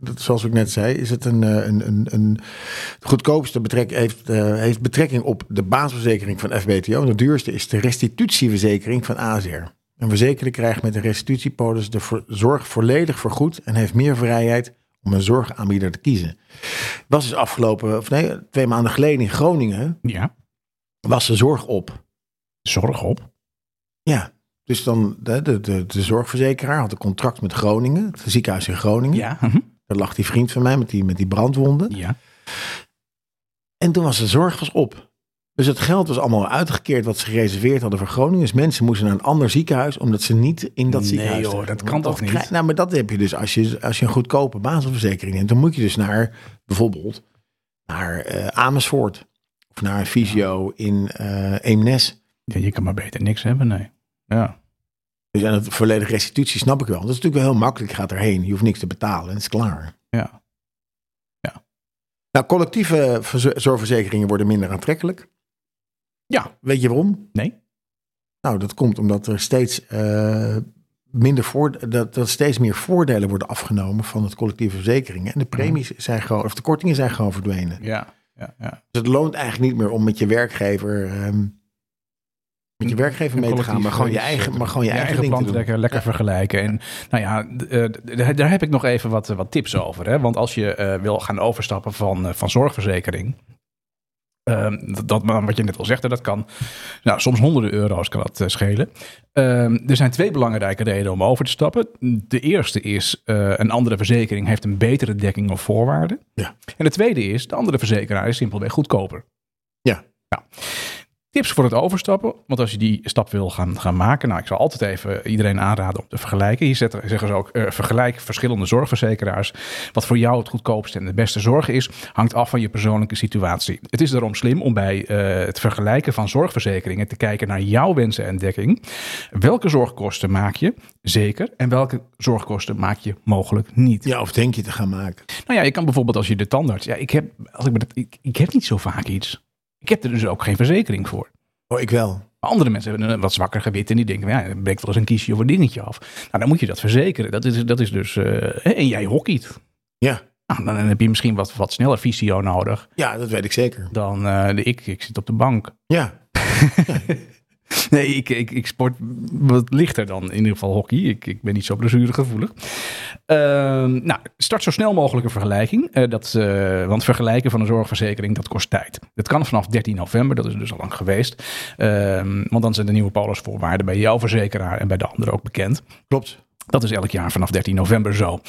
Speaker 2: Dat, zoals ik net zei, is het een, eh, een, een, een het goedkoopste betrek, heeft, eh, heeft betrekking op de basisverzekering van FBTO. En de duurste is de restitutieverzekering van ASR. Een verzekerde krijgt met een restitutiepolis de voor- zorg volledig vergoed en heeft meer vrijheid om een zorgaanbieder te kiezen. Was dus afgelopen, of nee, twee maanden geleden in Groningen,
Speaker 1: Ja,
Speaker 2: was de zorg op.
Speaker 1: zorg op.
Speaker 2: Ja, dus dan de, de, de, de zorgverzekeraar had een contract met Groningen, het ziekenhuis in Groningen.
Speaker 1: Ja. mhm.
Speaker 2: Daar lag die vriend van mij met die, met die brandwonden.
Speaker 1: ja.
Speaker 2: En toen was de zorg was op. Dus het geld was allemaal uitgekeerd wat ze gereserveerd hadden voor Groningen. Dus mensen moesten naar een ander ziekenhuis omdat ze niet in dat
Speaker 1: Nee,
Speaker 2: ziekenhuis...
Speaker 1: joh,
Speaker 2: terecht-
Speaker 1: dat kan toch niet?
Speaker 2: krijg- nou, maar dat heb je dus als je, als je een goedkope basisverzekering neemt. Dan moet je dus naar bijvoorbeeld naar eh, Amersfoort of naar een fysio in eh Eemnes.
Speaker 1: Ja, je kan maar beter niks hebben, nee. Ja.
Speaker 2: Dus en dat volledige restitutie snap ik wel. Dat is natuurlijk wel heel makkelijk. Je gaat erheen. Je hoeft niks te betalen. En het is klaar.
Speaker 1: Ja. Ja.
Speaker 2: Nou, collectieve verzo- zorgverzekeringen worden minder aantrekkelijk.
Speaker 1: Ja.
Speaker 2: Weet je waarom?
Speaker 1: Nee.
Speaker 2: Nou, dat komt omdat er steeds, eh, minder voor, dat, dat steeds meer voordelen worden afgenomen van het collectieve verzekeringen. En de premies zijn gewoon, of de kortingen zijn gewoon verdwenen.
Speaker 1: Ja, ja, ja.
Speaker 2: Dus het loont eigenlijk niet meer om met je werkgever, ehm, met je werkgever mee te gaan. Maar gewoon je eigen, maar gewoon je eigen, ding
Speaker 1: plan
Speaker 2: te doen.
Speaker 1: trekken, lekker vergelijken. En nou ja, d- eh, d- daar- daar heb ik nog even wat, eh, wat tips over. Hè? Want als je eh, wil gaan overstappen van, eh, van zorgverzekering. ehm, dat, dat- wat je net al zegt, hè, dat kan nou, soms honderden euro's kan dat eh, schelen. Ehm, er zijn twee belangrijke redenen om over te stappen. De eerste is, eh, een andere verzekering heeft een betere dekking of voorwaarden.
Speaker 2: Ja.
Speaker 1: En de tweede is, de andere verzekeraar is simpelweg goedkoper.
Speaker 2: Ja.
Speaker 1: Nou, tips voor het overstappen, want als je die stap wil gaan, gaan maken, nou, ik zou altijd even iedereen aanraden om te vergelijken. Hier zetten- zeggen ze ook, eh, vergelijk verschillende zorgverzekeraars. Wat voor jou het goedkoopste en de beste zorg is, hangt af van je persoonlijke situatie. Het is daarom slim om bij eh, het vergelijken van zorgverzekeringen te kijken naar jouw wensen en dekking. Welke zorgkosten maak je zeker en welke zorgkosten maak je mogelijk niet?
Speaker 2: Ja, of denk je te gaan maken.
Speaker 1: Nou ja, je kan bijvoorbeeld als je de tandarts. Ja, ik heb, als ik, met het- ik, ik heb niet zo vaak iets. Ik heb er dus ook geen verzekering voor.
Speaker 2: Oh, ik wel.
Speaker 1: Maar Andere mensen hebben een wat zwakker gewit en die denken, ja, dan breekt wel eens een kiesje of een dingetje af. Nou, dan moet je dat verzekeren. Dat is, dat is dus, eh, en jij hockeyt.
Speaker 2: Ja.
Speaker 1: Nou, dan heb je misschien wat, wat sneller visio nodig
Speaker 2: Ja, dat weet ik zeker.
Speaker 1: dan eh, de ik. Ik zit op de bank.
Speaker 2: Ja.
Speaker 1: Nee, ik, ik, ik sport wat lichter dan in ieder geval hockey. Ik, ik ben niet zo blessuregevoelig. Ehm nou, start zo snel mogelijk een vergelijking. Eh, dat, eh, want vergelijken van een zorgverzekering, dat kost tijd. Dat kan vanaf 13 november, dat is dus al lang geweest. Ehm, want dan zijn de nieuwe polisvoorwaarden bij jouw verzekeraar en bij de andere ook bekend.
Speaker 2: Klopt.
Speaker 1: Dat is elk jaar vanaf 13 november zo.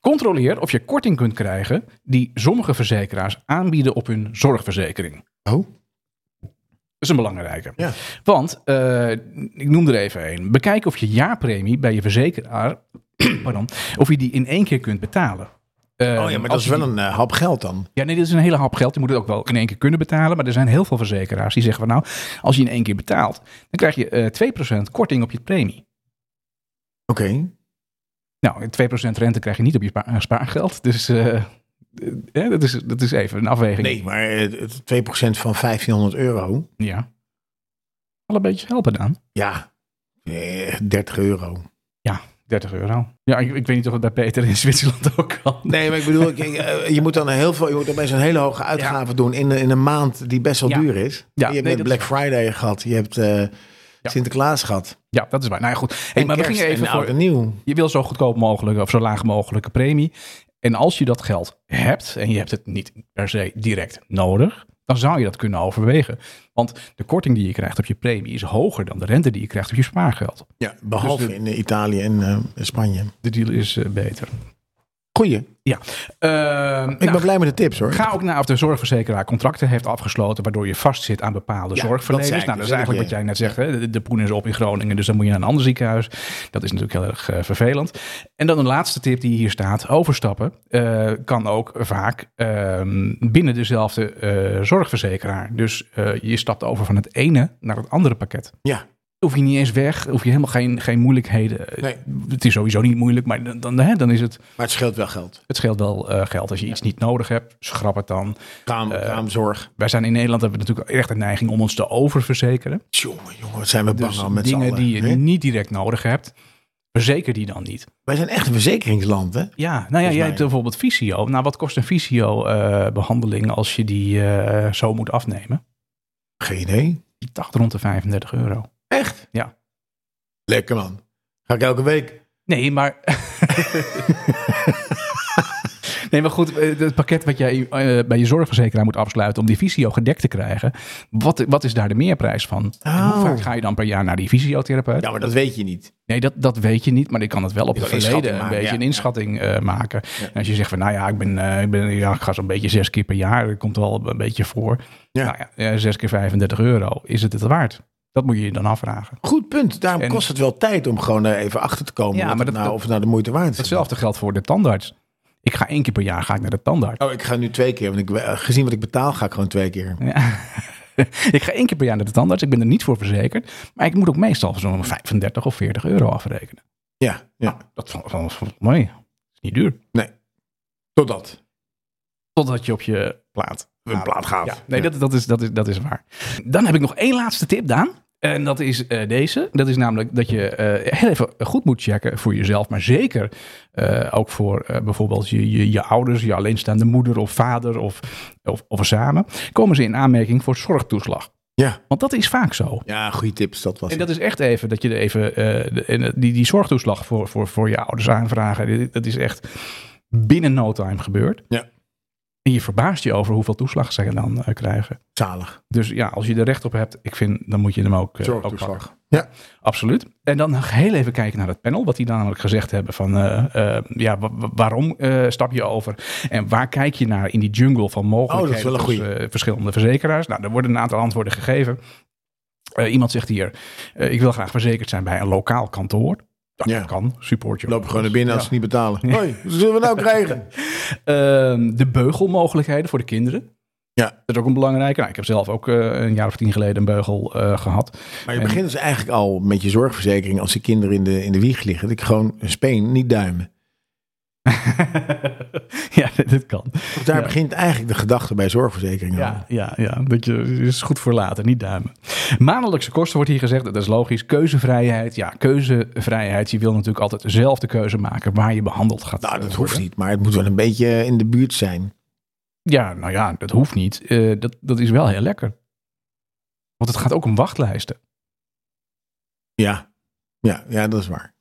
Speaker 1: Controleer of je korting kunt krijgen die sommige verzekeraars aanbieden op hun zorgverzekering.
Speaker 2: Oh?
Speaker 1: Dat is een belangrijke.
Speaker 2: Ja.
Speaker 1: Want, eh, ik noem er even een. Bekijk *clears throat* of je jaarpremie bij je verzekeraar, pardon, of je die in één keer kunt betalen. Eh,
Speaker 2: Oh ja, maar dat
Speaker 1: als
Speaker 2: is
Speaker 1: je
Speaker 2: wel een eh, hap geld dan.
Speaker 1: Ja, nee, dit is een hele hap geld. Je moet het ook wel in één keer kunnen betalen. Maar er zijn heel veel verzekeraars die zeggen van nou, als je in één keer betaalt, dan krijg je eh 2% korting op je premie.
Speaker 2: Oké.
Speaker 1: Nou, 2% rente krijg je niet op je spa- eh, spaargeld. Dus eh, eh, eh, dat, is, dat is even een afweging.
Speaker 2: Nee, maar eh, het 2% van 1500 euro.
Speaker 1: Ja. Alle beetjes helpen dan.
Speaker 2: Ja, eh, 30 euro.
Speaker 1: 30 euro. Ja, ik, ik weet niet of het bij Peter in Zwitserland *laughs* ook kan.
Speaker 2: Nee, maar ik bedoel, ik- ik, eh, je moet dan heel veel, je moet opeens een hele hoge uitgave doen in, een- in een maand die best wel
Speaker 1: Ja.
Speaker 2: duur is.
Speaker 1: Ja,
Speaker 2: je hebt
Speaker 1: nee,
Speaker 2: net
Speaker 1: dat
Speaker 2: Black Friday gehad, je hebt eh,
Speaker 1: Ja.
Speaker 2: Sinterklaas gehad.
Speaker 1: Ja, dat is waar. Nou ja, goed. Hey,
Speaker 2: En
Speaker 1: maar we
Speaker 2: kerst
Speaker 1: gingen even
Speaker 2: en oud
Speaker 1: voor...
Speaker 2: en nieuw.
Speaker 1: Je wil zo goedkoop mogelijk of zo laag mogelijke premie. En als je dat geld hebt en je hebt het niet per se direct nodig, dan zou je dat kunnen overwegen. Want de korting die je krijgt op je premie is hoger dan de rente die je krijgt op je spaargeld.
Speaker 2: Ja, behalve
Speaker 1: Dus de-
Speaker 2: in eh, Italië en eh, Spanje.
Speaker 1: De deal is eh, beter.
Speaker 2: Goeie. Ik
Speaker 1: Ja. Ehm, nou,
Speaker 2: ben blij met de tips hoor.
Speaker 1: Ga ook naar of de zorgverzekeraar contracten heeft afgesloten, waardoor je vastzit aan bepaalde
Speaker 2: Ja,
Speaker 1: zorgverleners. Nou,
Speaker 2: dat zei ik, dus,
Speaker 1: dat is
Speaker 2: dat
Speaker 1: eigenlijk wat
Speaker 2: zei
Speaker 1: jij net zegt. Hè? De, de poen is op in Groningen, dus dan moet je naar een ander ziekenhuis. Dat is natuurlijk heel erg eh, vervelend. En dan een laatste tip die hier staat: overstappen eh, kan ook vaak ehm, binnen dezelfde eh, zorgverzekeraar. Dus eh, je stapt over van het ene naar het andere pakket.
Speaker 2: Ja.
Speaker 1: Hoef je niet eens weg, hoef je helemaal geen, geen moeilijkheden. Eh,
Speaker 2: Nee.
Speaker 1: Het is sowieso niet moeilijk, maar dan, dan, hè, dan is het.
Speaker 2: Maar het scheelt wel geld.
Speaker 1: Het scheelt wel eh, geld. Als je iets niet nodig hebt, schrap het dan.
Speaker 2: Kraam,
Speaker 1: Eh,
Speaker 2: kraamzorg.
Speaker 1: Wij zijn in Nederland hebben we natuurlijk echt een neiging om ons te oververzekeren.
Speaker 2: Jongen, jongen, wat zijn we bang
Speaker 1: Dus
Speaker 2: al met z'n
Speaker 1: dingen
Speaker 2: allen.
Speaker 1: die je
Speaker 2: hè?
Speaker 1: niet direct nodig hebt, verzeker die dan niet.
Speaker 2: Wij zijn echt een verzekeringsland, hè?
Speaker 1: Ja, nou ja, jij
Speaker 2: mij.
Speaker 1: hebt bijvoorbeeld visio. Nou, wat kost een visio-behandeling als je die eh, zo moet afnemen?
Speaker 2: Geen idee.
Speaker 1: Die dacht rond de 35 euro.
Speaker 2: Echt?
Speaker 1: Ja.
Speaker 2: Lekker man. Ga ik elke week.
Speaker 1: Nee, maar. *laughs* nee, maar goed, eh, het pakket wat jij eh, bij je zorgverzekeraar moet afsluiten om die visio gedekt te krijgen. Wat, wat is daar de meerprijs van? En hoe
Speaker 2: Oh.
Speaker 1: vaak ga je dan per jaar naar die fysiotherapeut?
Speaker 2: Ja, maar dat weet je niet.
Speaker 1: Nee, dat, dat weet je niet, maar ik kan het wel op
Speaker 2: Je
Speaker 1: het
Speaker 2: kan
Speaker 1: verleden
Speaker 2: inschatting
Speaker 1: een
Speaker 2: maken,
Speaker 1: beetje
Speaker 2: ja.
Speaker 1: een inschatting eh, maken. En als je zegt van, nou ja, ik, ben, eh, ik, ben, ja, ik ga zo'n beetje zes keer per jaar, dat komt wel een beetje voor.
Speaker 2: Ja.
Speaker 1: Nou ja, eh, zes keer 35 euro, is het het waard? Dat moet je je dan afvragen.
Speaker 2: Goed punt. Daarom
Speaker 1: En-
Speaker 2: kost het wel tijd om gewoon eh, even achter te komen
Speaker 1: Ja,
Speaker 2: wat
Speaker 1: maar
Speaker 2: het
Speaker 1: dat-
Speaker 2: nou, of het nou de moeite waard is.
Speaker 1: Hetzelfde geldt voor de tandarts. Ik ga één keer per jaar ga ik naar de tandarts.
Speaker 2: Oh, ik ga nu twee keer. Want ik, eh, gezien wat ik betaal, ga ik gewoon twee keer.
Speaker 1: Ja. *laughs* ik ga één keer per jaar naar de tandarts, ik ben er niet voor verzekerd. Maar ik moet ook meestal zo'n 35 of 40 euro afrekenen.
Speaker 2: Ja, ja.
Speaker 1: Nou, dat vond vond- vond ik mooi. Dat is niet duur.
Speaker 2: totdat
Speaker 1: Totdat je op je plaat
Speaker 2: een plaat gaat.
Speaker 1: Ah. Ja, nee, Dat, dat, is, dat, is, dat is waar. Dan heb ik nog één laatste tip, Daan. En dat is eh, deze. Dat is namelijk dat je eh, heel even goed moet checken voor jezelf. Maar zeker eh, ook voor eh, bijvoorbeeld je, je, je ouders, je alleenstaande moeder of vader of, of, of samen. Komen ze in aanmerking voor zorgtoeslag.
Speaker 2: Ja.
Speaker 1: Want dat is vaak zo.
Speaker 2: Ja, goede tips. Dat was
Speaker 1: En
Speaker 2: het.
Speaker 1: dat is echt even dat je er even eh, de- en, eh, die, die zorgtoeslag voor, voor, voor je ouders aanvragen. Dit- Dat is echt binnen no time gebeurd.
Speaker 2: Ja.
Speaker 1: En je verbaast je over hoeveel toeslag ze dan eh, krijgen.
Speaker 2: zalig.
Speaker 1: Dus ja, als je er recht op hebt, ik vind, dan moet je hem ook, eh, ook pakken.
Speaker 2: Zorgtoeslag. Ja.
Speaker 1: Absoluut. En dan nog heel even kijken naar het panel, wat die namelijk gezegd hebben van, eh, eh, ja, wa- wa- waarom eh, stap je over? En waar kijk je naar in die jungle van mogelijkheden
Speaker 2: Oh, wel een
Speaker 1: tussen, eh, verschillende verzekeraars? Nou, er worden een aantal antwoorden gegeven. Eh, iemand zegt hier, eh, ik wil graag verzekerd zijn bij een lokaal kantoor. Dat
Speaker 2: Ja.
Speaker 1: kan, support je.
Speaker 2: Loop gewoon naar binnen als ze niet betalen. Hoi, wat zullen we
Speaker 1: *laughs*
Speaker 2: nou krijgen?
Speaker 1: Ehm, de beugelmogelijkheden voor de kinderen.
Speaker 2: Ja.
Speaker 1: Dat is ook een belangrijke. Nou, ik heb zelf ook eh, een jaar of tien geleden een beugel eh, gehad.
Speaker 2: Maar je begint dus eigenlijk al met je zorgverzekering als de kinderen in de, in de wieg liggen. Dat ik gewoon een speen, niet duimen.
Speaker 1: *laughs* ja, dit kan.
Speaker 2: Want daar
Speaker 1: Ja.
Speaker 2: begint eigenlijk de gedachte bij zorgverzekeringen.
Speaker 1: Ja, ja, ja. Dat je, is goed voor later, niet duimen. Maandelijkse kosten wordt hier gezegd, dat is logisch. Keuzevrijheid, ja, keuzevrijheid. Je wil natuurlijk altijd zelf de keuze maken waar je behandeld gaat
Speaker 2: Nou, dat
Speaker 1: eh,
Speaker 2: hoeft
Speaker 1: worden.
Speaker 2: niet, maar het moet wel een beetje in de buurt zijn.
Speaker 1: Ja, nou ja, dat hoeft niet. Eh, dat, dat is wel heel lekker. Want het gaat ook om wachtlijsten.
Speaker 2: Ja, ja, ja dat is waar.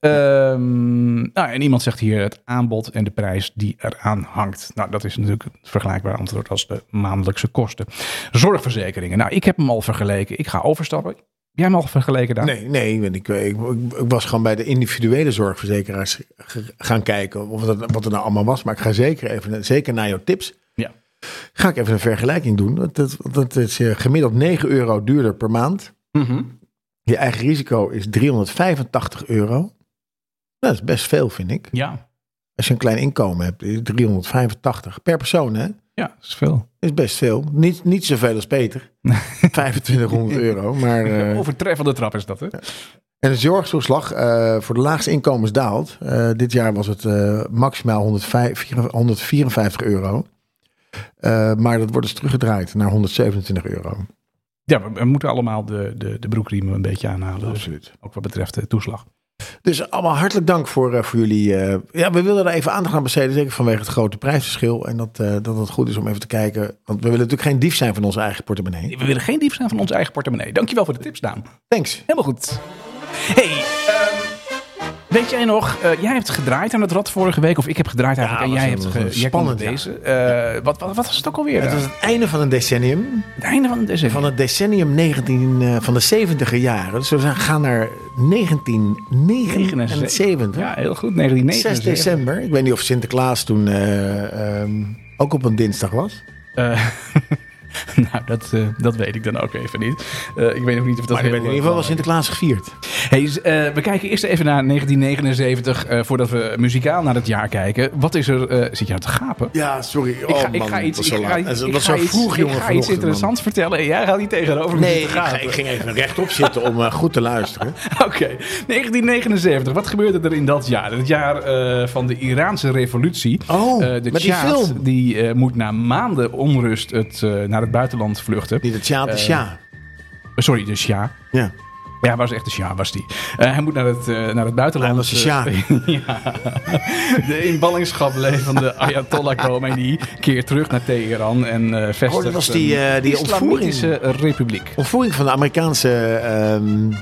Speaker 1: Ehm, nou, en iemand zegt hier het aanbod en de prijs die eraan hangt. Nou, dat is natuurlijk een vergelijkbaar antwoord als de maandelijkse kosten. Zorgverzekeringen. Nou, ik heb hem al vergeleken. Ik ga overstappen. Heb jij hem al vergeleken daar?
Speaker 2: Nee, nee want ik, ik, ik, ik was gewoon bij de individuele zorgverzekeraars ge- gaan kijken of dat, wat er nou allemaal was. Maar ik ga zeker even, zeker naar jouw tips,
Speaker 1: Ja.
Speaker 2: ga ik even een vergelijking doen. Want Dat, want dat is eh, gemiddeld 9 euro duurder per maand.
Speaker 1: Mhm.
Speaker 2: Je eigen risico is 385 euro. Dat is best veel, vind ik.
Speaker 1: Ja.
Speaker 2: Als je een klein inkomen hebt, 385 per persoon, hè?
Speaker 1: Ja, dat is veel.
Speaker 2: Is best veel. Niet, niet zoveel als Peter. 2500
Speaker 1: *laughs*
Speaker 2: euro. Maar, eh,
Speaker 1: Overtreffende trap is dat, hè?
Speaker 2: en de zorgtoeslag eh, voor de laagste inkomens daalt. Eh, dit jaar was het eh, maximaal 105 154 euro. Eh, maar dat wordt dus teruggedraaid naar 127 euro.
Speaker 1: Ja, we, we moeten allemaal de, de, de broekriemen een beetje aanhalen. Dus
Speaker 2: Absoluut.
Speaker 1: ook wat betreft de toeslag.
Speaker 2: Dus allemaal hartelijk dank voor, eh, voor jullie. eh, ja, we wilden daar even aandacht aan besteden, zeker vanwege het grote prijsverschil. En dat, eh, dat het goed is om even te kijken. Want we willen natuurlijk geen dief zijn van onze eigen portemonnee.
Speaker 1: We willen geen dief zijn van onze eigen portemonnee. Dankjewel voor de tips, Daan.
Speaker 2: Thanks.
Speaker 1: Helemaal goed. Hey, ehm, weet jij nog, eh, jij hebt gedraaid aan het rad vorige week, of ik heb gedraaid eigenlijk,
Speaker 2: Ja,
Speaker 1: en jij
Speaker 2: was
Speaker 1: hebt
Speaker 2: een-
Speaker 1: ge-
Speaker 2: was een
Speaker 1: jij kon
Speaker 2: spannend, ja.
Speaker 1: deze. Eh, wat, wat, wat was het ook alweer? Eh,
Speaker 2: Het was het einde van een decennium.
Speaker 1: het einde van deze.
Speaker 2: Van het decennium 19, eh, van de 70 jaren. Dus we zijn- gaan naar 1979.
Speaker 1: Ja, heel goed.
Speaker 2: 6
Speaker 1: 1979.
Speaker 2: december. Ik weet niet of Sinterklaas toen eh, ehm, ook op een dinsdag was.
Speaker 1: Eh, *laughs* nou, dat, eh, dat weet ik dan ook even niet. Eh, ik weet ook niet of dat
Speaker 2: Maar ik
Speaker 1: heel,
Speaker 2: weet in ieder
Speaker 1: eh,
Speaker 2: geval was Sinterklaas gevierd.
Speaker 1: Hey, z- eh, we kijken eerst even naar 1979, eh, voordat we muzikaal naar het jaar kijken. Wat is er... eh, zit je aan te gapen?
Speaker 2: Ja, sorry.
Speaker 1: Ik ga, ik ga iets, ik ga, iets- ik
Speaker 2: Oh, Dat
Speaker 1: ga
Speaker 2: zo
Speaker 1: iets-
Speaker 2: vroeg, jongen.
Speaker 1: ik ga iets
Speaker 2: vanochtend, man.
Speaker 1: interessants vertellen en jij gaat niet tegenover me
Speaker 2: Nee, ik,
Speaker 1: zitten gapen.
Speaker 2: ga- ik ging even rechtop zitten om eh, goed te luisteren.
Speaker 1: *laughs* Oké, 1979. Wat gebeurde er in dat jaar? Het jaar eh, van de Iraanse revolutie.
Speaker 2: *laughs* Oh,
Speaker 1: Eh, de
Speaker 2: met die
Speaker 1: Tjaat,
Speaker 2: film.
Speaker 1: die eh, moet na maanden onrust het, eh, naar het buitenland vluchten.
Speaker 2: Niet het ja, het is
Speaker 1: Eh,
Speaker 2: ja.
Speaker 1: Sorry, de Sja.
Speaker 2: Ja.
Speaker 1: Ja, hij was echt de Sja, was die. Eh, hij moet naar het, eh, naar het buitenland.
Speaker 2: Hij was de Sja.
Speaker 1: eh, *laughs* ja. De in ballingschap levende Ayatollah Khomeini keert terug naar Teheran en eh, vestigt
Speaker 2: Oh, dat was die,
Speaker 1: een
Speaker 2: eh, die
Speaker 1: Islamitische
Speaker 2: ontvoering.
Speaker 1: Republiek.
Speaker 2: Ontvoering van de Amerikaanse ehm,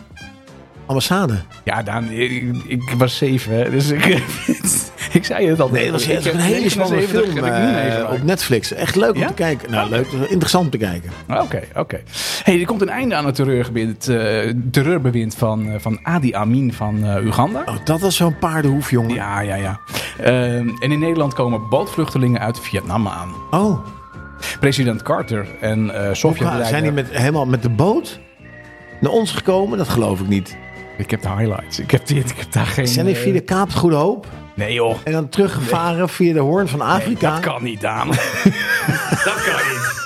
Speaker 2: ambassade.
Speaker 1: Ja, Daan, ik, ik was zeven, hè, dus ik, *laughs* ik zei het al.
Speaker 2: Nee, dat was
Speaker 1: Ik
Speaker 2: echt
Speaker 1: heb
Speaker 2: een hele spannende
Speaker 1: 79
Speaker 2: film
Speaker 1: heb ik niet
Speaker 2: eh,
Speaker 1: meegemaakt.
Speaker 2: op Netflix. Echt leuk om
Speaker 1: Ja?
Speaker 2: te kijken. Nou, leuk. Interessant om te kijken.
Speaker 1: Oké, Ah, oké. Hey, er komt een einde aan het terreurgebind, eh, terreurbewind van, eh, van Adi Amin van eh, Uganda.
Speaker 2: Oh, dat was zo'n paardenhoef, jongen.
Speaker 1: Ja, ja, ja. Ehm, en in Nederland komen bootvluchtelingen uit Vietnam aan.
Speaker 2: Oh,
Speaker 1: President Carter en eh
Speaker 2: ja,
Speaker 1: Sovjet-leider...
Speaker 2: zijn die met, helemaal met de boot naar ons gekomen? Dat geloof ik niet.
Speaker 1: Ik heb de highlights. Ik heb, dit, ik heb daar geen...
Speaker 2: Zijn die
Speaker 1: eh,
Speaker 2: via de Kaap Goede Hoop
Speaker 1: Nee, joh.
Speaker 2: en dan teruggevaren via de Hoorn van Afrika?
Speaker 1: Dat kan niet, Daan. *laughs* dat kan niet.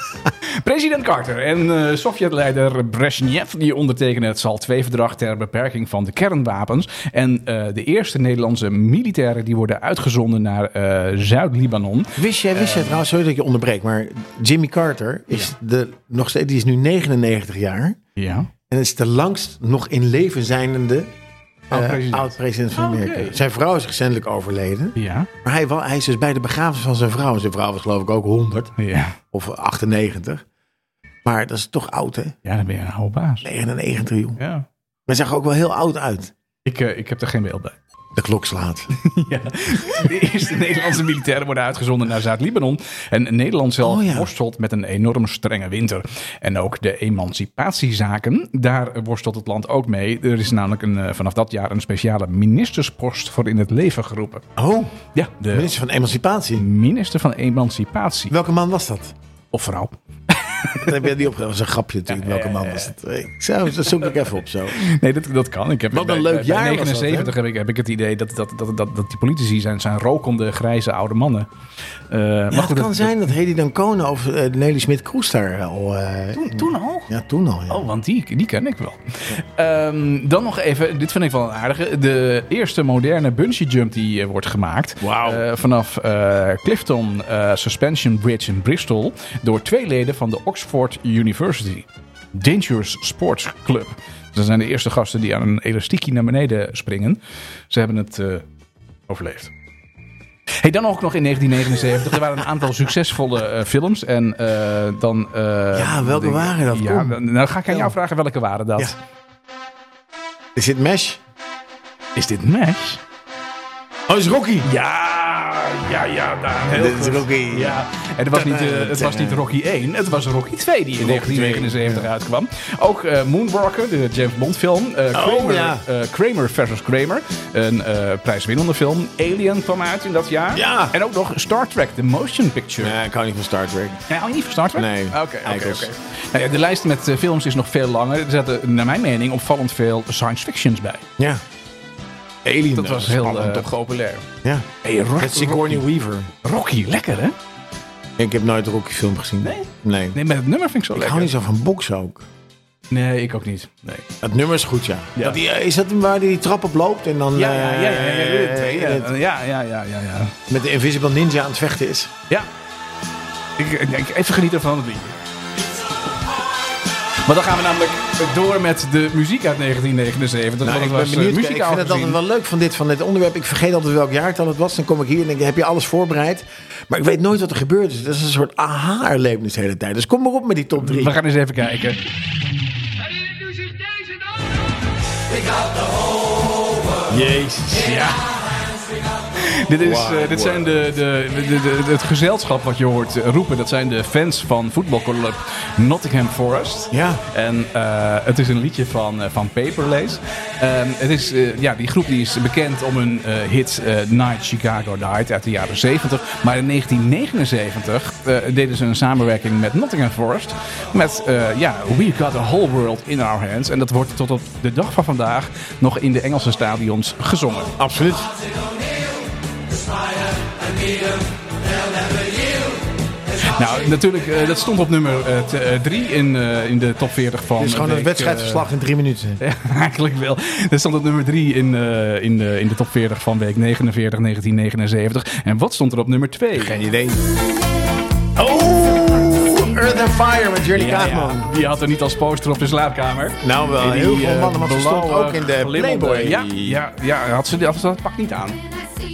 Speaker 1: President Carter en eh Sovjet-leider Brezhnev die ondertekenen het SALT II-verdrag ter beperking van de kernwapens. En eh, de eerste Nederlandse militairen die worden uitgezonden naar eh, Zuid-Libanon.
Speaker 2: Wist jij,
Speaker 1: Eh.
Speaker 2: wist jij trouwens, sorry dat ik je onderbreek, maar Jimmy Carter is de, nog steeds, die is nu 99 jaar.
Speaker 1: Ja.
Speaker 2: En is de langst nog in leven zijnde
Speaker 1: Oud-president.
Speaker 2: oud-president van
Speaker 1: Oh, oké.
Speaker 2: Amerika. Zijn vrouw is recentelijk overleden.
Speaker 1: Ja.
Speaker 2: Maar hij, wa- hij is dus bij de begrafenis van zijn vrouw. En zijn vrouw was geloof ik ook 100
Speaker 1: Ja.
Speaker 2: of 98. Maar dat is toch oud, hè?
Speaker 1: Ja, dan ben je een oude baas.
Speaker 2: 99, joh.
Speaker 1: Ja.
Speaker 2: Maar zag er ook wel heel oud uit.
Speaker 1: Ik, eh, ik heb er geen beeld bij.
Speaker 2: De klok slaat.
Speaker 1: Ja. De eerste Nederlandse militairen worden uitgezonden naar Zuid-Libanon. En Nederland zelf
Speaker 2: Oh ja.
Speaker 1: worstelt met een enorm strenge winter. En ook de emancipatiezaken, daar worstelt het land ook mee. Er is namelijk een, eh, vanaf dat jaar een speciale ministerspost voor in het leven geroepen.
Speaker 2: Oh,
Speaker 1: Ja, de
Speaker 2: minister van Emancipatie.
Speaker 1: minister van Emancipatie.
Speaker 2: Welke man was dat?
Speaker 1: Of vrouw.
Speaker 2: Dat heb je niet opgegeven. Dat is een grapje natuurlijk. Welke man was het? Ik zou, dat zoek ik even op zo.
Speaker 1: Nee, dat, dat kan. Ik heb
Speaker 2: Wat een
Speaker 1: bij- bij-
Speaker 2: leuk
Speaker 1: bij
Speaker 2: jaar was dat,
Speaker 1: 79 heb, ik, heb ik het idee dat, dat, dat, dat, dat die politici zijn, zijn rokende, grijze oude mannen. Eh, maar
Speaker 2: Ja,
Speaker 1: goed,
Speaker 2: het kan
Speaker 1: dat-
Speaker 2: zijn dat Hedy Dancona of eh, Nelly Smit-Kroes daar al... eh,
Speaker 1: Toen, toen al?
Speaker 2: ja, toen al. Ja.
Speaker 1: Oh, want die, die ken ik wel. Ehm, dan nog even, dit vind ik wel een aardige. De eerste moderne bungee jump die eh, wordt gemaakt.
Speaker 2: Wauw.
Speaker 1: Eh, vanaf eh, Clifton eh, Suspension Bridge in Bristol. Door twee leden van de Oxford University. Dangerous Sports Club. Dat zijn de eerste gasten die aan een elastiekje naar beneden springen. Ze hebben het eh, overleefd. Hey, dan ook nog in 1979. Er waren een aantal succesvolle eh, films. En eh, dan. eh,
Speaker 2: Ja, welke
Speaker 1: denk-
Speaker 2: waren dat?
Speaker 1: Ja,
Speaker 2: Kom.
Speaker 1: dan, dan ga ik aan jou
Speaker 2: Vertel.
Speaker 1: vragen welke waren dat.
Speaker 2: Ja. Is dit Mesh?
Speaker 1: Is dit Mesh?
Speaker 2: Oh, is Rocky.
Speaker 1: Ja, ja, ja. Daar, heel
Speaker 2: Dit
Speaker 1: goed.
Speaker 2: is Rocky.
Speaker 1: Ja. En het was, niet, eh, het was niet Rocky 1, het was Rocky 2 die in 1979 uitkwam. Ook eh, Moonwalker, de James Bond film. eh, Kramer,
Speaker 2: Oh, ja.
Speaker 1: eh, Kramer versus Kramer, een eh, prijswinnende film. Alien kwam uit in dat jaar.
Speaker 2: Ja.
Speaker 1: En ook nog Star Trek, The Motion Picture.
Speaker 2: Nee, ik hou niet van Star Trek.
Speaker 1: Nee, hou je niet van Star Trek?
Speaker 2: Nee,
Speaker 1: Oké, oké,
Speaker 2: eikels.
Speaker 1: oké. Nou ja, de lijst met eh, films is nog veel langer. Er zaten, naar mijn mening, opvallend veel science fictions bij.
Speaker 2: Ja. Alien,
Speaker 1: dat was heel
Speaker 2: spannend,
Speaker 1: eh,
Speaker 2: toch?
Speaker 1: populair.
Speaker 2: Ja.
Speaker 1: Hey, Rock-
Speaker 2: Met Sigourney
Speaker 1: Rocky.
Speaker 2: Weaver.
Speaker 1: Rocky, lekker hè?
Speaker 2: Ik heb nooit een Rocky film gezien.
Speaker 1: Nee?
Speaker 2: Nee.
Speaker 1: Nee, maar het nummer vind ik zo
Speaker 2: Ik
Speaker 1: lekker.
Speaker 2: hou niet zo van boksen ook.
Speaker 1: Nee, ik ook niet. Nee.
Speaker 2: Het nummer is goed, ja.
Speaker 1: Ja.
Speaker 2: Dat die, eh, is dat waar hij die trap op loopt en dan
Speaker 1: Ja, ja, ja, ja, ja,
Speaker 2: eh,
Speaker 1: ja,
Speaker 2: met-
Speaker 1: ja, ja, ja, ja, ja, ja.
Speaker 2: met de Invisible Ninja aan het vechten is? Nou,
Speaker 1: Ja. Ik, ik, even genieten van het liedje. Maar dan gaan we namelijk door met de muziek uit 1979.
Speaker 2: Nou,
Speaker 1: want
Speaker 2: ik
Speaker 1: het
Speaker 2: ben
Speaker 1: was eh,
Speaker 2: benieuwd. Kijk, ik
Speaker 1: muzikaal
Speaker 2: vind het altijd
Speaker 1: gezien.
Speaker 2: wel leuk van dit, van dit onderwerp. Ik vergeet altijd welk jaartal het was. Dan kom ik hier en denk ik, heb je alles voorbereid? Maar ik weet nooit wat er gebeurd is. Dat is een soort aha-erlevenis de hele tijd. Dus kom maar op met die top drie.
Speaker 1: We gaan eens even kijken.
Speaker 3: Herinnert u zich deze dan?
Speaker 2: Jezus. Ja.
Speaker 1: Dit, is,
Speaker 2: Why
Speaker 1: eh, dit zijn de, de, de, de- de- het gezelschap wat je hoort eh, roepen. Dat zijn de fans van voetbalclub Nottingham Forest.
Speaker 2: Ja.
Speaker 1: En eh, het is een liedje van, eh, van Paperlace. Ehm, het is, eh, ja, die groep die is bekend om hun eh, hit eh, Night Chicago Night uit de jaren 70. Maar in 1979 eh, deden ze een samenwerking met Nottingham Forest. Met eh, ja, We Got a Whole World in Our Hands. En dat wordt tot op de dag van vandaag nog in de Engelse stadions gezongen.
Speaker 2: Absoluut.
Speaker 1: Nou, natuurlijk, eh, dat stond op nummer 3 in, eh, in de top 40 van.
Speaker 2: Het is gewoon
Speaker 1: eh,
Speaker 2: een
Speaker 1: week,
Speaker 2: wedstrijdverslag in drie minuten.
Speaker 1: eh, ja, *laughs* eigenlijk wel. Dat stond op nummer 3 in, eh, in, de, in de top 40 van week 49, 1979. En wat stond er op nummer 2?
Speaker 2: Geen idee. Oh, Earth and Fire met Jerry Kaagman.
Speaker 1: die had er niet als poster op de slaapkamer.
Speaker 2: Nou, wel
Speaker 1: In die,
Speaker 2: heel veel
Speaker 1: eh,
Speaker 2: mannen, want ze stond
Speaker 1: blauwe,
Speaker 2: ook in de
Speaker 1: glimmende-
Speaker 2: Playboy.
Speaker 1: Ja, ja, ja had ze, had ze dat pak niet aan. Oh,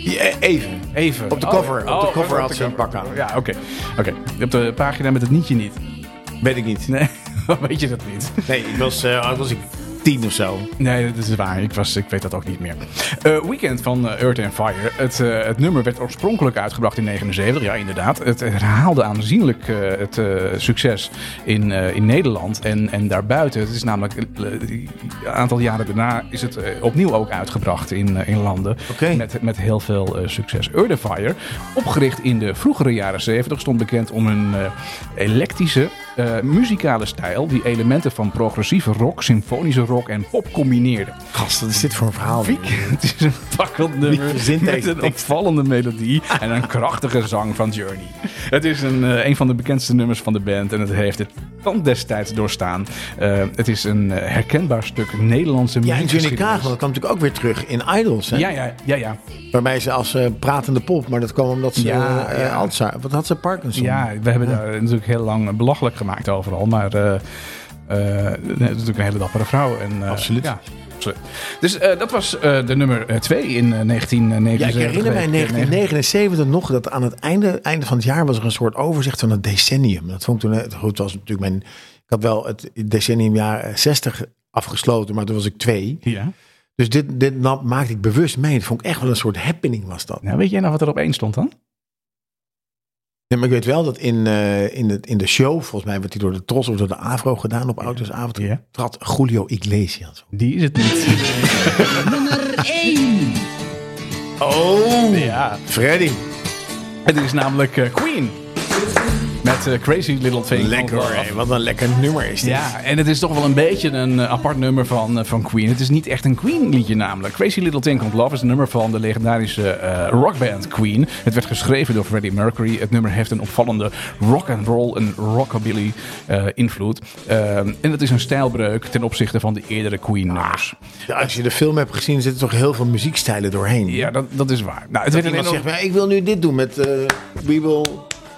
Speaker 2: Ja, eh, even.
Speaker 1: Even.
Speaker 2: Op de cover, op de cover Oh, had ze een pak aan.
Speaker 1: Ja, oké. oké. Op de pagina met het nietje niet. *laughs*
Speaker 2: Weet ik niet.
Speaker 1: Nee, *laughs* weet je dat niet?
Speaker 2: Nee, ik was, eh, oud was ik tien of zo.
Speaker 1: Nee, dat is waar. Ik, was, ik weet dat ook niet meer. Eh, Weekend van eh, Earth and Fire. Het, eh, het nummer werd oorspronkelijk uitgebracht in 79. Ja, inderdaad. Het herhaalde aanzienlijk eh, het eh, succes in, eh, in Nederland en, en daarbuiten. Het is namelijk eh, een aantal jaren daarna is het eh, opnieuw ook uitgebracht in, eh, in landen.
Speaker 2: Oké.
Speaker 1: Met, met heel veel eh, succes. Earth and Fire, opgericht in de vroegere jaren 70, stond bekend om een eh, elektrische eh, muzikale stijl die elementen van progressieve rock, symfonische rock en pop combineerde.
Speaker 2: Gast, wat is dit voor een verhaal?
Speaker 1: *laughs* Het is een pakkend nummer
Speaker 2: Niet verzint
Speaker 1: met
Speaker 2: deze
Speaker 1: een
Speaker 2: tekst.
Speaker 1: opvallende melodie en
Speaker 2: *laughs*
Speaker 1: een krachtige zang van Journey. Het is een, eh, een van de bekendste nummers van de band en het heeft het tand destijds doorstaan. Eh, het is een eh, herkenbaar stuk Nederlandse
Speaker 2: Ja, en
Speaker 1: muziek.
Speaker 2: Johnny Kaagman dat kwam natuurlijk ook weer terug in Idols. Hè?
Speaker 1: Ja, ja, ja, ja.
Speaker 2: Waarbij ze als eh, pratende pop, maar dat kwam omdat ze
Speaker 1: Ja,
Speaker 2: eh,
Speaker 1: ja.
Speaker 2: Alzheimer- Wat had ze? Parkinson?
Speaker 1: Ja, we hebben daar natuurlijk heel lang belachelijk gemaakt overal. Maar eh, eh, het is natuurlijk een hele dappere vrouw. En, eh,
Speaker 2: Absoluut.
Speaker 1: Ja. Absoluut. Dus eh, dat was eh, de nummer 2 in eh, 1979.
Speaker 2: Ja, ik herinner mij in
Speaker 1: 1979.
Speaker 2: 1979 nog dat aan het einde, einde van het jaar was er een soort overzicht van het decennium. Dat vond ik toen, eh, goed, het was natuurlijk mijn, ik had wel het decenniumjaar eh, 60 afgesloten, maar toen was ik twee.
Speaker 1: Ja.
Speaker 2: Dus dit, dit nam- maakte ik bewust mee. Dat vond ik echt wel een soort happening was dat.
Speaker 1: Nou, weet jij nou wat er op één stond dan?
Speaker 2: Ja, maar ik weet wel dat in, eh, in, het, in de show, volgens mij werd die door de Tros of door de Avro gedaan op Autosavond,
Speaker 1: Ja.
Speaker 2: trad Julio Iglesias. op.
Speaker 1: Die is het niet.
Speaker 2: Oh,
Speaker 1: *laughs* ja.
Speaker 2: Freddy.
Speaker 1: Het is namelijk eh, Queen. Met eh, Crazy Little Thing.
Speaker 2: Lekker hoor, hé. wat een lekker nummer is dit.
Speaker 1: Ja, en het is toch wel een beetje een eh, apart nummer van, eh, van Queen. Het is niet echt een Queen-liedje namelijk. Crazy Little Thing Called Love is een nummer van de legendarische eh, rockband Queen. Het werd geschreven door Freddie Mercury. Het nummer heeft een opvallende rock and roll en rockabilly eh, invloed. Ehm, en het is een stijlbreuk ten opzichte van de eerdere Queen-nummers.
Speaker 2: Ja, Als je de film hebt gezien, zitten toch heel veel muziekstijlen doorheen.
Speaker 1: Ja, dat, dat is waar. Nou, het werd
Speaker 2: Iemand
Speaker 1: een
Speaker 2: zegt, maar, ik wil nu dit doen met eh, We Will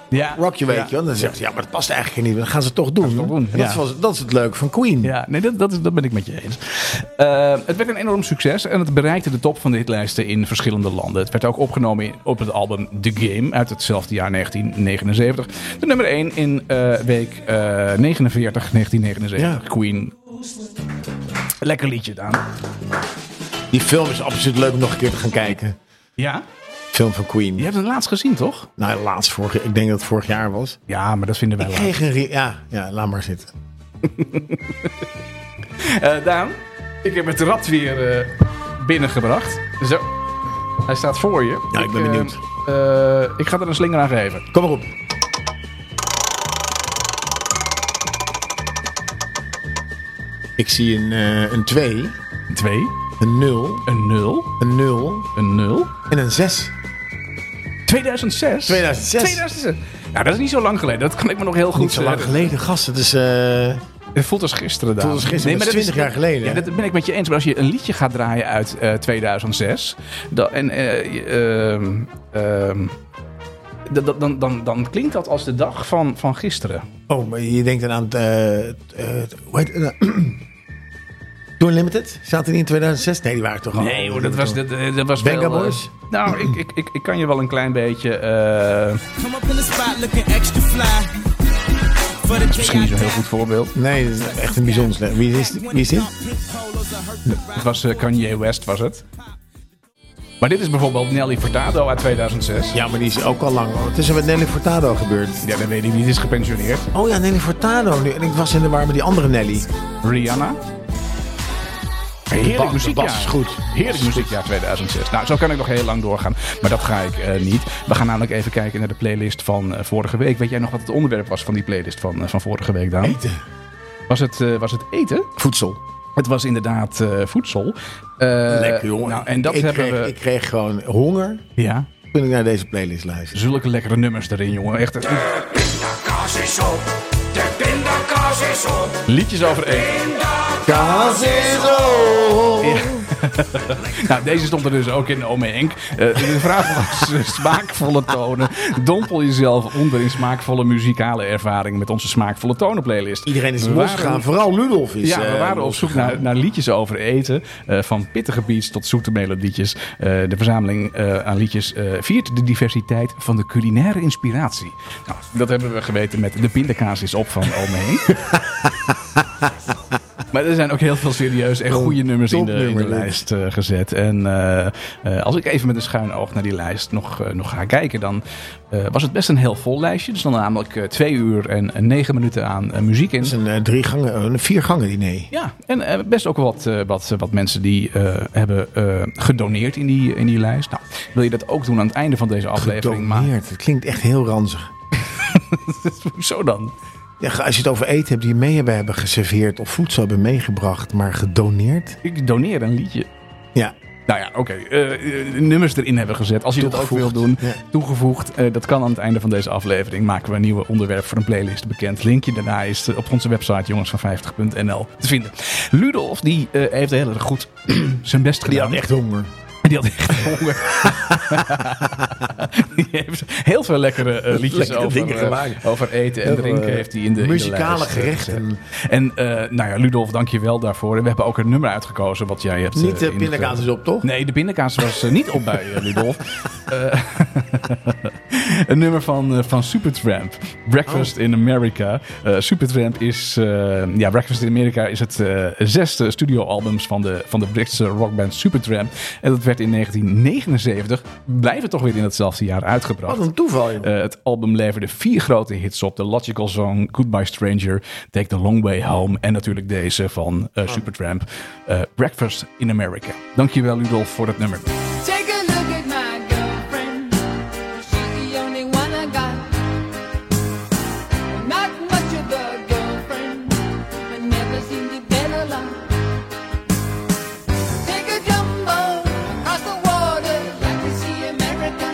Speaker 1: ja,
Speaker 2: Rock You, weet
Speaker 1: ja.
Speaker 2: je wel. Dan zegt ze, ja, maar dat past eigenlijk niet. Dan gaan ze het toch doen.
Speaker 1: het toch doen, ja.
Speaker 2: En dat, is, wel- dat is het leuke van Queen.
Speaker 1: Ja, nee, dat, dat, is, dat ben ik met je eens. Eh, het werd een enorm succes en het bereikte de top van de hitlijsten in verschillende landen. Het werd ook opgenomen in- op het album The Game uit hetzelfde jaar 1979. De nummer 1 in eh, week eh, 49, 1979.
Speaker 2: Ja.
Speaker 1: Queen. Lekker liedje, Daan.
Speaker 2: Die film is absoluut leuk om nog een keer te gaan kijken.
Speaker 1: Ja?
Speaker 2: Film van Queen.
Speaker 1: Je hebt het laatst gezien, toch?
Speaker 2: Nou, laatst vorig Ik denk dat het vorig jaar was.
Speaker 1: Ja, maar dat vinden wij
Speaker 2: Ik
Speaker 1: laat.
Speaker 2: kreeg een... re- Ja, ja, laat maar zitten.
Speaker 1: Eh, Daan, ik heb het rad weer eh, binnengebracht. Zo. Hij staat voor je.
Speaker 2: Ja, ik ben
Speaker 1: eh,
Speaker 2: benieuwd.
Speaker 1: eh, ik ga er een slinger aan geven.
Speaker 2: Kom maar op. Ik zie een 2.
Speaker 1: Twee.
Speaker 2: Een 0,
Speaker 1: Een 0?
Speaker 2: een 0
Speaker 1: Een 0?
Speaker 2: en een 6.
Speaker 1: 2006?
Speaker 2: 2006.
Speaker 1: 2006. Nou, dat is niet zo lang geleden. Dat kan ik me nog heel goed
Speaker 2: Niet zo lang
Speaker 1: eh, Nou,
Speaker 2: geleden, gast. Het is... eh,
Speaker 1: Het voelt als gisteren, dan.
Speaker 2: voelt als gisteren, dat is 20 jaar geleden,
Speaker 1: Ja,
Speaker 2: hè?
Speaker 1: dat ben ik met je eens. Maar als je een liedje gaat draaien uit eh, 2006... Dan, en, eh, je, ehm, ehm, dat- dat- dan, dan, dan klinkt dat als de dag van, van gisteren.
Speaker 2: Oh, maar je denkt dan aan... het, eh, eh, hoe heet het? *clears throat* Tour Limited? Zaten die in 2006? Nee, die waren toch al...
Speaker 1: Nee hoor, dat was, dat, dat was
Speaker 2: Benga
Speaker 1: wel... eh,
Speaker 2: Boys?
Speaker 1: nou, ik, ik, ik, ik kan je wel een klein beetje... eh
Speaker 4: Come up in the spot looking extra fly. For the
Speaker 1: misschien niet zo'n heel goed voorbeeld.
Speaker 2: Nee, dat is echt een bijzonder slecht. Wie is, wie is dit?
Speaker 1: Het was eh, Kanye West, was het. Maar dit is bijvoorbeeld Nelly Furtado uit 2006.
Speaker 2: Ja, maar die is ook al lang. Het is er met Nelly Furtado gebeurd.
Speaker 1: Ja, dat weet ik niet. Die is gepensioneerd.
Speaker 2: Oh ja, Nelly Furtado nu. En ik was in de war met die andere Nelly.
Speaker 1: Rihanna. Heerlijk
Speaker 2: bas- de
Speaker 1: muziekjaar.
Speaker 2: bas is goed.
Speaker 1: Heerlijk muziekjaar 2006. Nou, zo kan ik nog heel lang doorgaan. Maar dat ga ik eh, niet. We gaan namelijk even kijken naar de playlist van eh, vorige week. Weet jij nog wat het onderwerp was van die playlist van, eh, van vorige week, Daan?
Speaker 2: Eten.
Speaker 1: Was het, eh, was het eten?
Speaker 2: Voedsel.
Speaker 1: Het was inderdaad eh, voedsel. Eh,
Speaker 2: Lekker jongen.
Speaker 1: Nou, en dat
Speaker 2: ik,
Speaker 1: hebben
Speaker 2: kreeg,
Speaker 1: we...
Speaker 2: ik kreeg gewoon honger
Speaker 1: Ja,
Speaker 2: toen ik naar deze playlist luisterde.
Speaker 1: zulke lekkere nummers erin, jongen. Echt... eh,
Speaker 5: Kaas is op, de pindakaas is op.
Speaker 1: Liedjes over eten.
Speaker 2: Kaas is op.
Speaker 1: Nou, deze stond er dus ook in Ome Enk. Eh, de vraag was eh, smaakvolle tonen. Dompel jezelf onder in smaakvolle muzikale ervaring met onze smaakvolle tonen playlist.
Speaker 2: Iedereen is
Speaker 1: We
Speaker 2: losgegaan.
Speaker 1: waren-
Speaker 2: Vooral Ludolf is
Speaker 1: Ja, we
Speaker 2: eh,
Speaker 1: waren op zoek
Speaker 2: losgegaan.
Speaker 1: naar, naar liedjes over eten. eh, van pittige beats tot zoete melodietjes. Eh, de verzameling eh, aan liedjes eh, viert de diversiteit van de culinaire inspiratie. Nou, dat hebben we geweten met De Pindakaas is op van Ome
Speaker 2: *laughs*
Speaker 1: Henk. Maar er zijn ook heel veel serieus en goede nummers in de, in de
Speaker 2: topnummer, dus. dit.
Speaker 1: lijst eh, gezet. En eh, eh, als ik even met een schuin oog naar die lijst nog, eh, nog ga kijken, dan eh, was het best een heel vol lijstje. Dus dan namelijk eh, twee uur en, en negen minuten aan eh, muziek in.
Speaker 2: Het is een eh, drie gangen, een vier gangen diner.
Speaker 1: Ja, en eh, best ook wat, eh, wat, eh, wat mensen die eh, hebben eh, gedoneerd in die, in die lijst. Nou, wil je dat ook doen aan het einde van deze aflevering? Maar
Speaker 2: Gedoneerd. Het klinkt echt heel ranzig.
Speaker 1: zo dan.
Speaker 2: Ja, als je het over eten hebt die mee hebben, hebben geserveerd of voedsel hebben meegebracht, maar gedoneerd.
Speaker 1: Ik doneer een liedje.
Speaker 2: Ja,
Speaker 1: Nou ja, oké. eh, eh, nummers erin hebben gezet. Als je dat ook wil
Speaker 2: Toegevoegd,
Speaker 1: doen,
Speaker 2: ja.
Speaker 1: toegevoegd. eh, dat kan aan het einde van deze aflevering. Maken we een nieuw onderwerp voor een playlist bekend. Linkje daarna is eh, op onze website jongensvan50.nl te vinden. Ludolf, die eh, heeft heel erg goed *clears throat* zijn best
Speaker 2: die
Speaker 1: gedaan.
Speaker 2: had echt honger.
Speaker 1: Die had echt *laughs* honger. die heeft heel veel lekkere eh, liedjes
Speaker 2: Lekkere
Speaker 1: over,
Speaker 2: dingen
Speaker 1: eh,
Speaker 2: gemaakt.
Speaker 1: over eten en
Speaker 2: Heel,
Speaker 1: drinken.
Speaker 2: eh,
Speaker 1: Heeft hij in de in de
Speaker 2: muzikale
Speaker 1: lijst, eh,
Speaker 2: gerechten.
Speaker 1: gezet. En eh, nou ja, Ludolf, dank je wel daarvoor. En we hebben ook een nummer uitgekozen wat jij hebt.
Speaker 2: Niet
Speaker 1: eh,
Speaker 2: de pindakaas is
Speaker 1: ingevuld.
Speaker 2: op, toch?
Speaker 1: Nee, de pindakaas was eh, niet op bij eh, Ludolf. Eh, *laughs* een nummer van, eh, van Supertramp. Breakfast in America. Eh, Supertramp is... eh, ja, Breakfast in America is het eh, zesde studioalbums van de, van de Britse rockband Supertramp. En dat werd in 1979, blijven toch weer in hetzelfde jaar, uitgebracht.
Speaker 2: Wat een toeval, joh.
Speaker 1: Eh, het album leverde vier grote hits op. The Logical Song, Goodbye Stranger, Take the Long Way Home en natuurlijk deze van eh, Supertramp, eh, Breakfast in America. Dankjewel Ludolf voor het nummer.
Speaker 6: Take a look at my girlfriend. She's the only one I got. Not much of a girlfriend, but never seem to get along. Take a jumbo across the water, like to see America.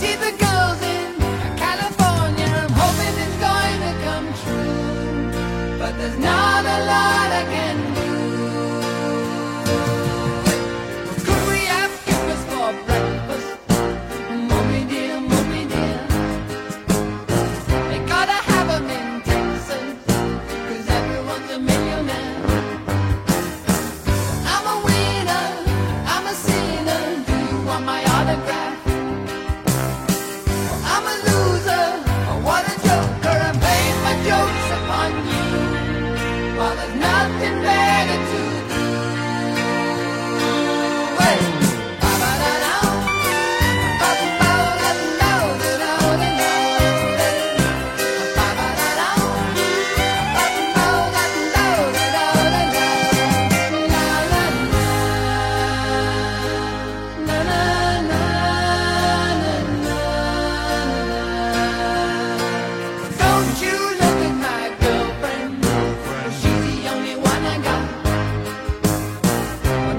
Speaker 6: See the girls in California, I'm hoping it's going to come true. But there's not a lot I can do. Could we have breakfast for breakfast? Mommy dear, mommy dear. They gotta have 'em in Texas, 'cause everyone's a millionaire. I'm a winner, I'm a sinner. Do you want my autograph? I'm a loser, oh, what a joker. I played my jokes upon you. Well, there's nothing better to do. Don't you look at my girlfriend? She's the only one I got. oh,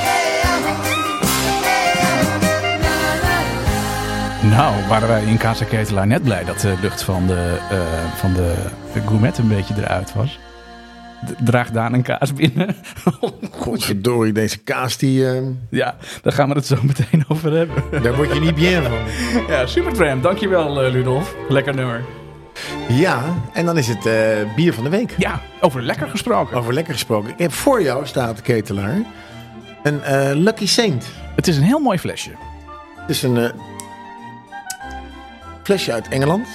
Speaker 1: eigenlijk Nou, waren wij in Casa Ketelaar net blij dat de lucht van de, eh van de gourmet een beetje eruit was. D- Draag Daan een kaas binnen. *laughs*
Speaker 2: Godverdorie, deze kaas die... eh,
Speaker 1: ja, daar gaan we het zo meteen over hebben.
Speaker 2: daar word je niet bien van.
Speaker 1: *laughs* Ja, Supertram. Dankjewel, eh, Ludolf. Lekker nummer.
Speaker 2: Ja, en dan is het eh, bier van de week.
Speaker 1: Ja, over lekker gesproken.
Speaker 2: Over lekker gesproken. Ik heb voor jou, staat de ketelaar, een eh, Lucky Saint.
Speaker 1: Het is een heel mooi flesje.
Speaker 2: Het is een eh, flesje uit Engeland.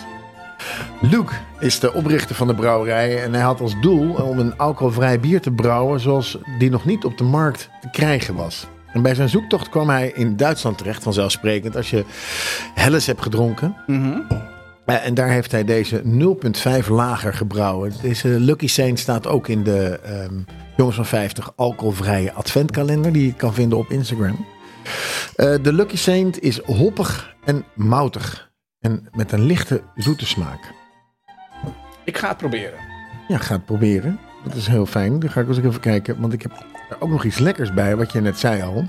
Speaker 2: Luke is de oprichter van de brouwerij en hij had als doel om een alcoholvrij bier te brouwen zoals die nog niet op de markt te krijgen was. En bij zijn zoektocht kwam hij in Duitsland terecht, vanzelfsprekend, als je Helles hebt gedronken. Eh, En daar heeft hij deze 0,5 lager gebrouwen. Deze Lucky Saint staat ook in de ehm, Jongens van 50 alcoholvrije adventkalender die je kan vinden op Instagram. Eh, de Lucky Saint is hoppig en moutig. En met een lichte zoete smaak.
Speaker 1: Ik ga het proberen.
Speaker 2: Ja, ga het proberen. Dat is heel fijn. Dan ga ik eens even kijken. Want ik heb er ook nog iets lekkers bij, wat je net zei al.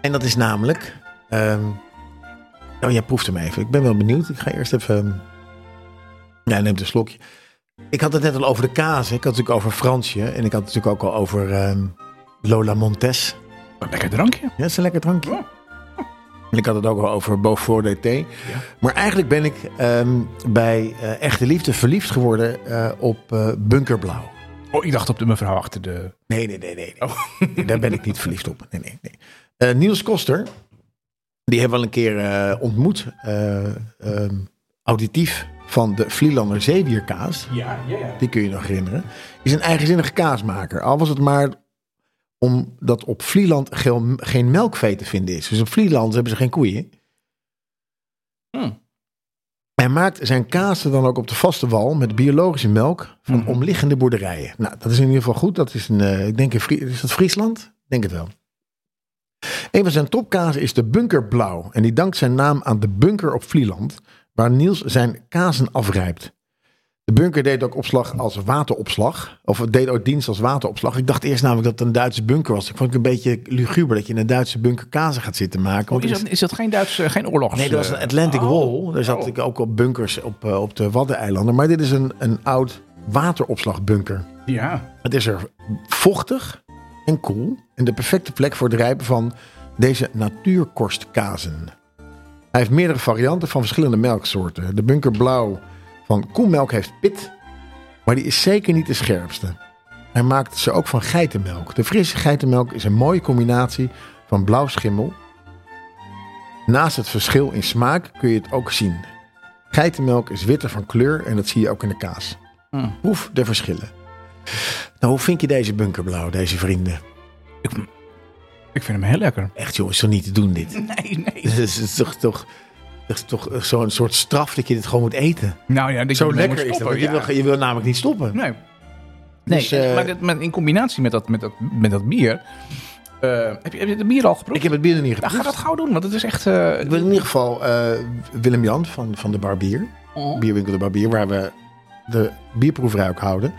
Speaker 2: En dat is namelijk. ehm, oh, jij proeft hem even. Ik ben wel benieuwd. Ik ga eerst even. ehm, Ja, neemt een slokje. Ik had het net al over de kaas. hè. Ik had het natuurlijk over Fransje. En ik had het natuurlijk ook al over ehm, Lola Montes.
Speaker 1: Een lekker drankje.
Speaker 2: Ja, dat is een lekker drankje.
Speaker 1: Ja.
Speaker 2: En Ik had het ook al over Beaufort DT. Maar eigenlijk ben ik ehm, bij eh, Echte Liefde verliefd geworden eh, op eh, Bunkerblauw.
Speaker 1: Oh, ik dacht op de mevrouw achter de...
Speaker 2: Nee, nee, nee, nee. nee. Nee, Daar ben ik niet verliefd op. Nee, nee, nee. Eh, Niels Koster, die hebben we al een keer eh, ontmoet. eh, ehm, auditief van de Vlielander zeewierkaas.
Speaker 1: Ja, ja, ja.
Speaker 2: Die kun je nog herinneren. Is een eigenzinnige kaasmaker. Al was het maar omdat op Vlieland geel- geen melkvee te vinden is. Dus op Vlieland hebben ze geen koeien.
Speaker 1: Hmm.
Speaker 2: Hij maakt zijn kazen dan ook op de vaste wal met biologische melk van
Speaker 1: Mhm.
Speaker 2: omliggende boerderijen. Nou, dat is in ieder geval goed. Dat is een, eh, ik denk in Fri- is dat Friesland? Ik denk het wel. Een van zijn topkazen is de Bunker Blauw. En die dankt zijn naam aan de bunker op Vlieland, waar Niels zijn kazen afrijpt. De bunker deed ook opslag als wateropslag. Of het deed ook dienst als wateropslag. Ik dacht eerst namelijk dat het een Duitse bunker was. Ik vond het een beetje luguber dat je in een Duitse bunker kazen gaat zitten maken.
Speaker 1: Oh,
Speaker 2: Want
Speaker 1: is,
Speaker 2: er is-
Speaker 1: dat, is dat geen Duits, eh, geen oorlogs...
Speaker 2: Nee, dat was
Speaker 1: eh,
Speaker 2: een Atlantic
Speaker 1: oh.
Speaker 2: Wall. Daar zat ik ook op bunkers op, eh, op de Waddeneilanden. Maar dit is een, een oud wateropslagbunker.
Speaker 1: Ja.
Speaker 2: Het is er vochtig en koel en de perfecte plek voor het rijpen van deze natuurkorstkazen. Hij heeft meerdere varianten van verschillende melksoorten. De bunkerblauw van koemelk heeft pit, maar die is zeker niet de scherpste. Hij maakt ze ook van geitenmelk. De frisse geitenmelk is een mooie combinatie van blauw schimmel. Naast het verschil in smaak kun je het ook zien. Geitenmelk is witter van kleur en dat zie je ook in de kaas. Proef de verschillen. Nou, hoe vind je deze bunkerblauw, deze vrienden?
Speaker 1: Ik vind hem heel lekker.
Speaker 2: Echt joh, is toch niet te doen dit?
Speaker 1: *laughs* Nee, nee.
Speaker 2: Het is toch, toch, het is toch zo'n soort straf dat je dit gewoon moet eten.
Speaker 1: Nou ja, ik denk dat
Speaker 2: Zo
Speaker 1: ik mee
Speaker 2: lekker
Speaker 1: moet
Speaker 2: is dat,
Speaker 1: stoppen,
Speaker 2: want je, wil, je wil namelijk niet stoppen.
Speaker 1: Nee. Nee,
Speaker 2: Dus, eh,
Speaker 1: maar dit- maar in combinatie met dat, met dat, met dat bier... eh, heb, je, heb je de bier al geproefd?
Speaker 2: Ik heb het binnen niet
Speaker 1: Ja,
Speaker 2: geproefd.
Speaker 1: ga dat gauw doen, want het is echt... eh,
Speaker 2: Ik wil in ieder geval eh, Willem-Jan van, van de Barbier, Bierwinkel de Barbier, waar we de bierproeverij ook houden.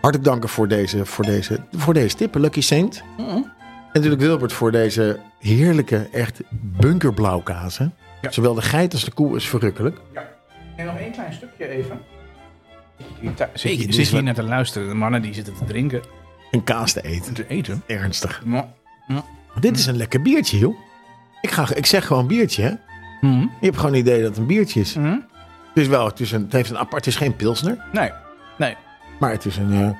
Speaker 2: Hartelijk danken voor deze, voor deze, voor deze tip, Lucky Saint. En natuurlijk Wilbert voor deze heerlijke, echt bunkerblauwkazen.
Speaker 1: Ja.
Speaker 2: Zowel de geit als de koe is verrukkelijk.
Speaker 1: Ja. En nog één klein stukje even. Hier thu- Zit,
Speaker 2: dit
Speaker 1: je,
Speaker 2: is
Speaker 1: zit hier
Speaker 2: wel-
Speaker 1: naar te luisteren. De mannen die zitten te drinken
Speaker 2: Een kaas te eten.
Speaker 1: en te eten.
Speaker 2: Ernstig.
Speaker 1: Maar,
Speaker 2: Dit is een lekker biertje, joh. Ik, ga, ik zeg gewoon biertje, hè. Je hebt gewoon het idee dat het een biertje is. Het is wel, het, is een, het heeft een apart, het is geen pilsner,
Speaker 1: nee, nee.
Speaker 2: maar het is een... eh,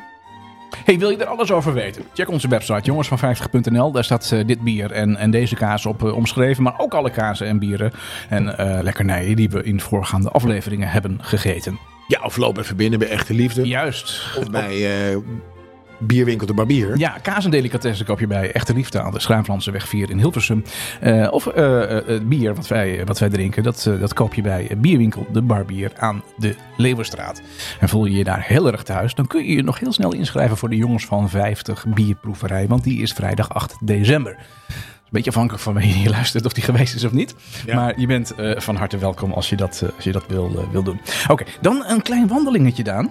Speaker 1: Hey, wil je er alles over weten? Check onze website jongensvan50.nl. Daar staat eh, dit bier en, en deze kaas op eh, omschreven. Maar ook alle kazen en bieren en eh, lekkernijen die we in voorgaande afleveringen hebben gegeten.
Speaker 2: ja, of loop even binnen bij Echte Liefde.
Speaker 1: Juist.
Speaker 2: Of bij eh, Bierwinkel de Barbier.
Speaker 1: Ja, kaas en delicatessen koop je bij Echte Liefde aan de Schuimlandse weg 4 in Hilversum. Eh, of eh, eh, het bier wat wij, wat wij drinken, dat, eh, dat koop je bij Bierwinkel De Barbier aan de Leeuwenstraat. En voel je je daar heel erg thuis, dan kun je je nog heel snel inschrijven voor de Jongens van 50 bierproeverij. Want die is vrijdag 8 december. Een beetje afhankelijk van wanneer je luistert of die geweest is of niet. Maar je bent eh, van harte welkom als je dat, eh, als je dat wil, eh, wil doen. Oké, dan een klein wandelingetje, Daan.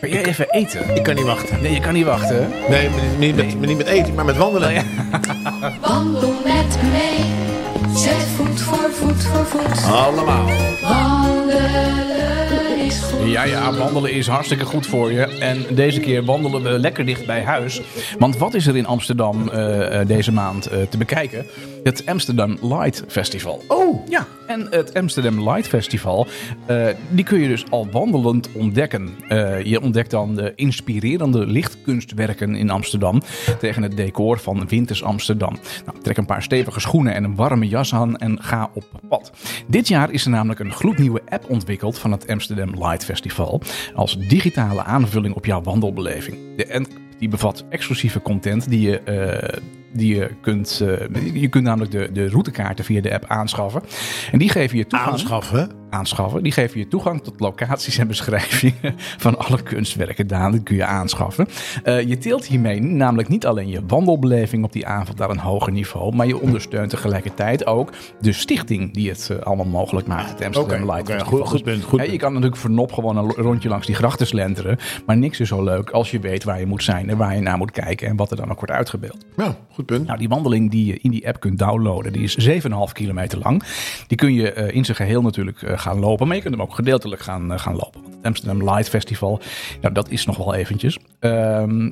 Speaker 1: Wil jij even eten?
Speaker 2: Ik kan niet wachten.
Speaker 1: Nee, je kan niet wachten.
Speaker 2: Nee, maar niet met, maar niet met eten, maar met wandelen.
Speaker 7: *laughs* Wandel met me mee. Zet voet voor voet voor voet.
Speaker 2: Allemaal.
Speaker 7: Wandelen is goed.
Speaker 1: Ja, ja, wandelen is hartstikke goed voor je. En deze keer wandelen we lekker dicht bij huis. Want wat is er in Amsterdam eh, eh, deze maand eh, te bekijken? Het Amsterdam Light Festival.
Speaker 2: Oh.
Speaker 1: Ja, en het Amsterdam Light Festival, eh, die kun je dus al wandelend ontdekken. Eh, je ontdekt dan de inspirerende lichtkunstwerken in Amsterdam tegen het decor van Winters Amsterdam. Nou, trek een paar stevige schoenen en een warme jas aan en ga op pad. Dit jaar is er namelijk een gloednieuwe app ontwikkeld van het Amsterdam Light Festival als digitale aanvulling op jouw wandelbeleving. De app die bevat exclusieve content die je eh, die je kunt. eh, je kunt namelijk de, de routekaarten via de app aanschaffen. En die geven je toegang.
Speaker 2: Aanschaffen.
Speaker 1: aanschaffen. Die geven je toegang tot locaties en beschrijvingen *laughs* van alle kunstwerken. Daan, die kun je aanschaffen. Eh, je teelt hiermee namelijk niet alleen je wandelbeleving op die avond naar een hoger niveau. Maar je ondersteunt tegelijkertijd ook de stichting die het eh, allemaal mogelijk maakt. Het Amsterdam
Speaker 2: Oké,
Speaker 1: Light.
Speaker 2: oké,
Speaker 1: Festival.
Speaker 2: goed- goed punt, goed
Speaker 1: Ja, je
Speaker 2: punt.
Speaker 1: kan natuurlijk voor nop gewoon een rondje langs die grachten slenteren. Maar niks is zo leuk als je weet waar je moet zijn en waar je naar moet kijken. En wat er dan ook wordt uitgebeeld.
Speaker 2: Ja, goed punt.
Speaker 1: Nou, die wandeling die je in die app kunt downloaden, die is 7,5 kilometer lang. Die kun je eh, in zijn geheel natuurlijk eh, gaan lopen, maar je kunt hem ook gedeeltelijk gaan, eh, gaan lopen. Want het Amsterdam Light Festival, nou, dat is nog wel eventjes. Ehm,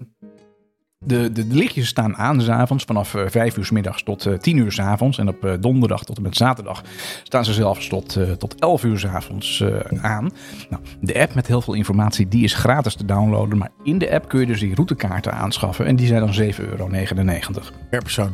Speaker 1: de, de, de lichtjes staan aan s'avonds vanaf eh, 5 uur s middags tot eh 10 uur s avonds. En op eh, donderdag tot en met zaterdag staan ze zelfs tot, eh, tot 11 uur s avonds eh, aan. Nou, de app met heel veel informatie die is gratis te downloaden. Maar in de app kun je dus die routekaarten aanschaffen. En die zijn dan 7,99 euro.
Speaker 2: Per persoon.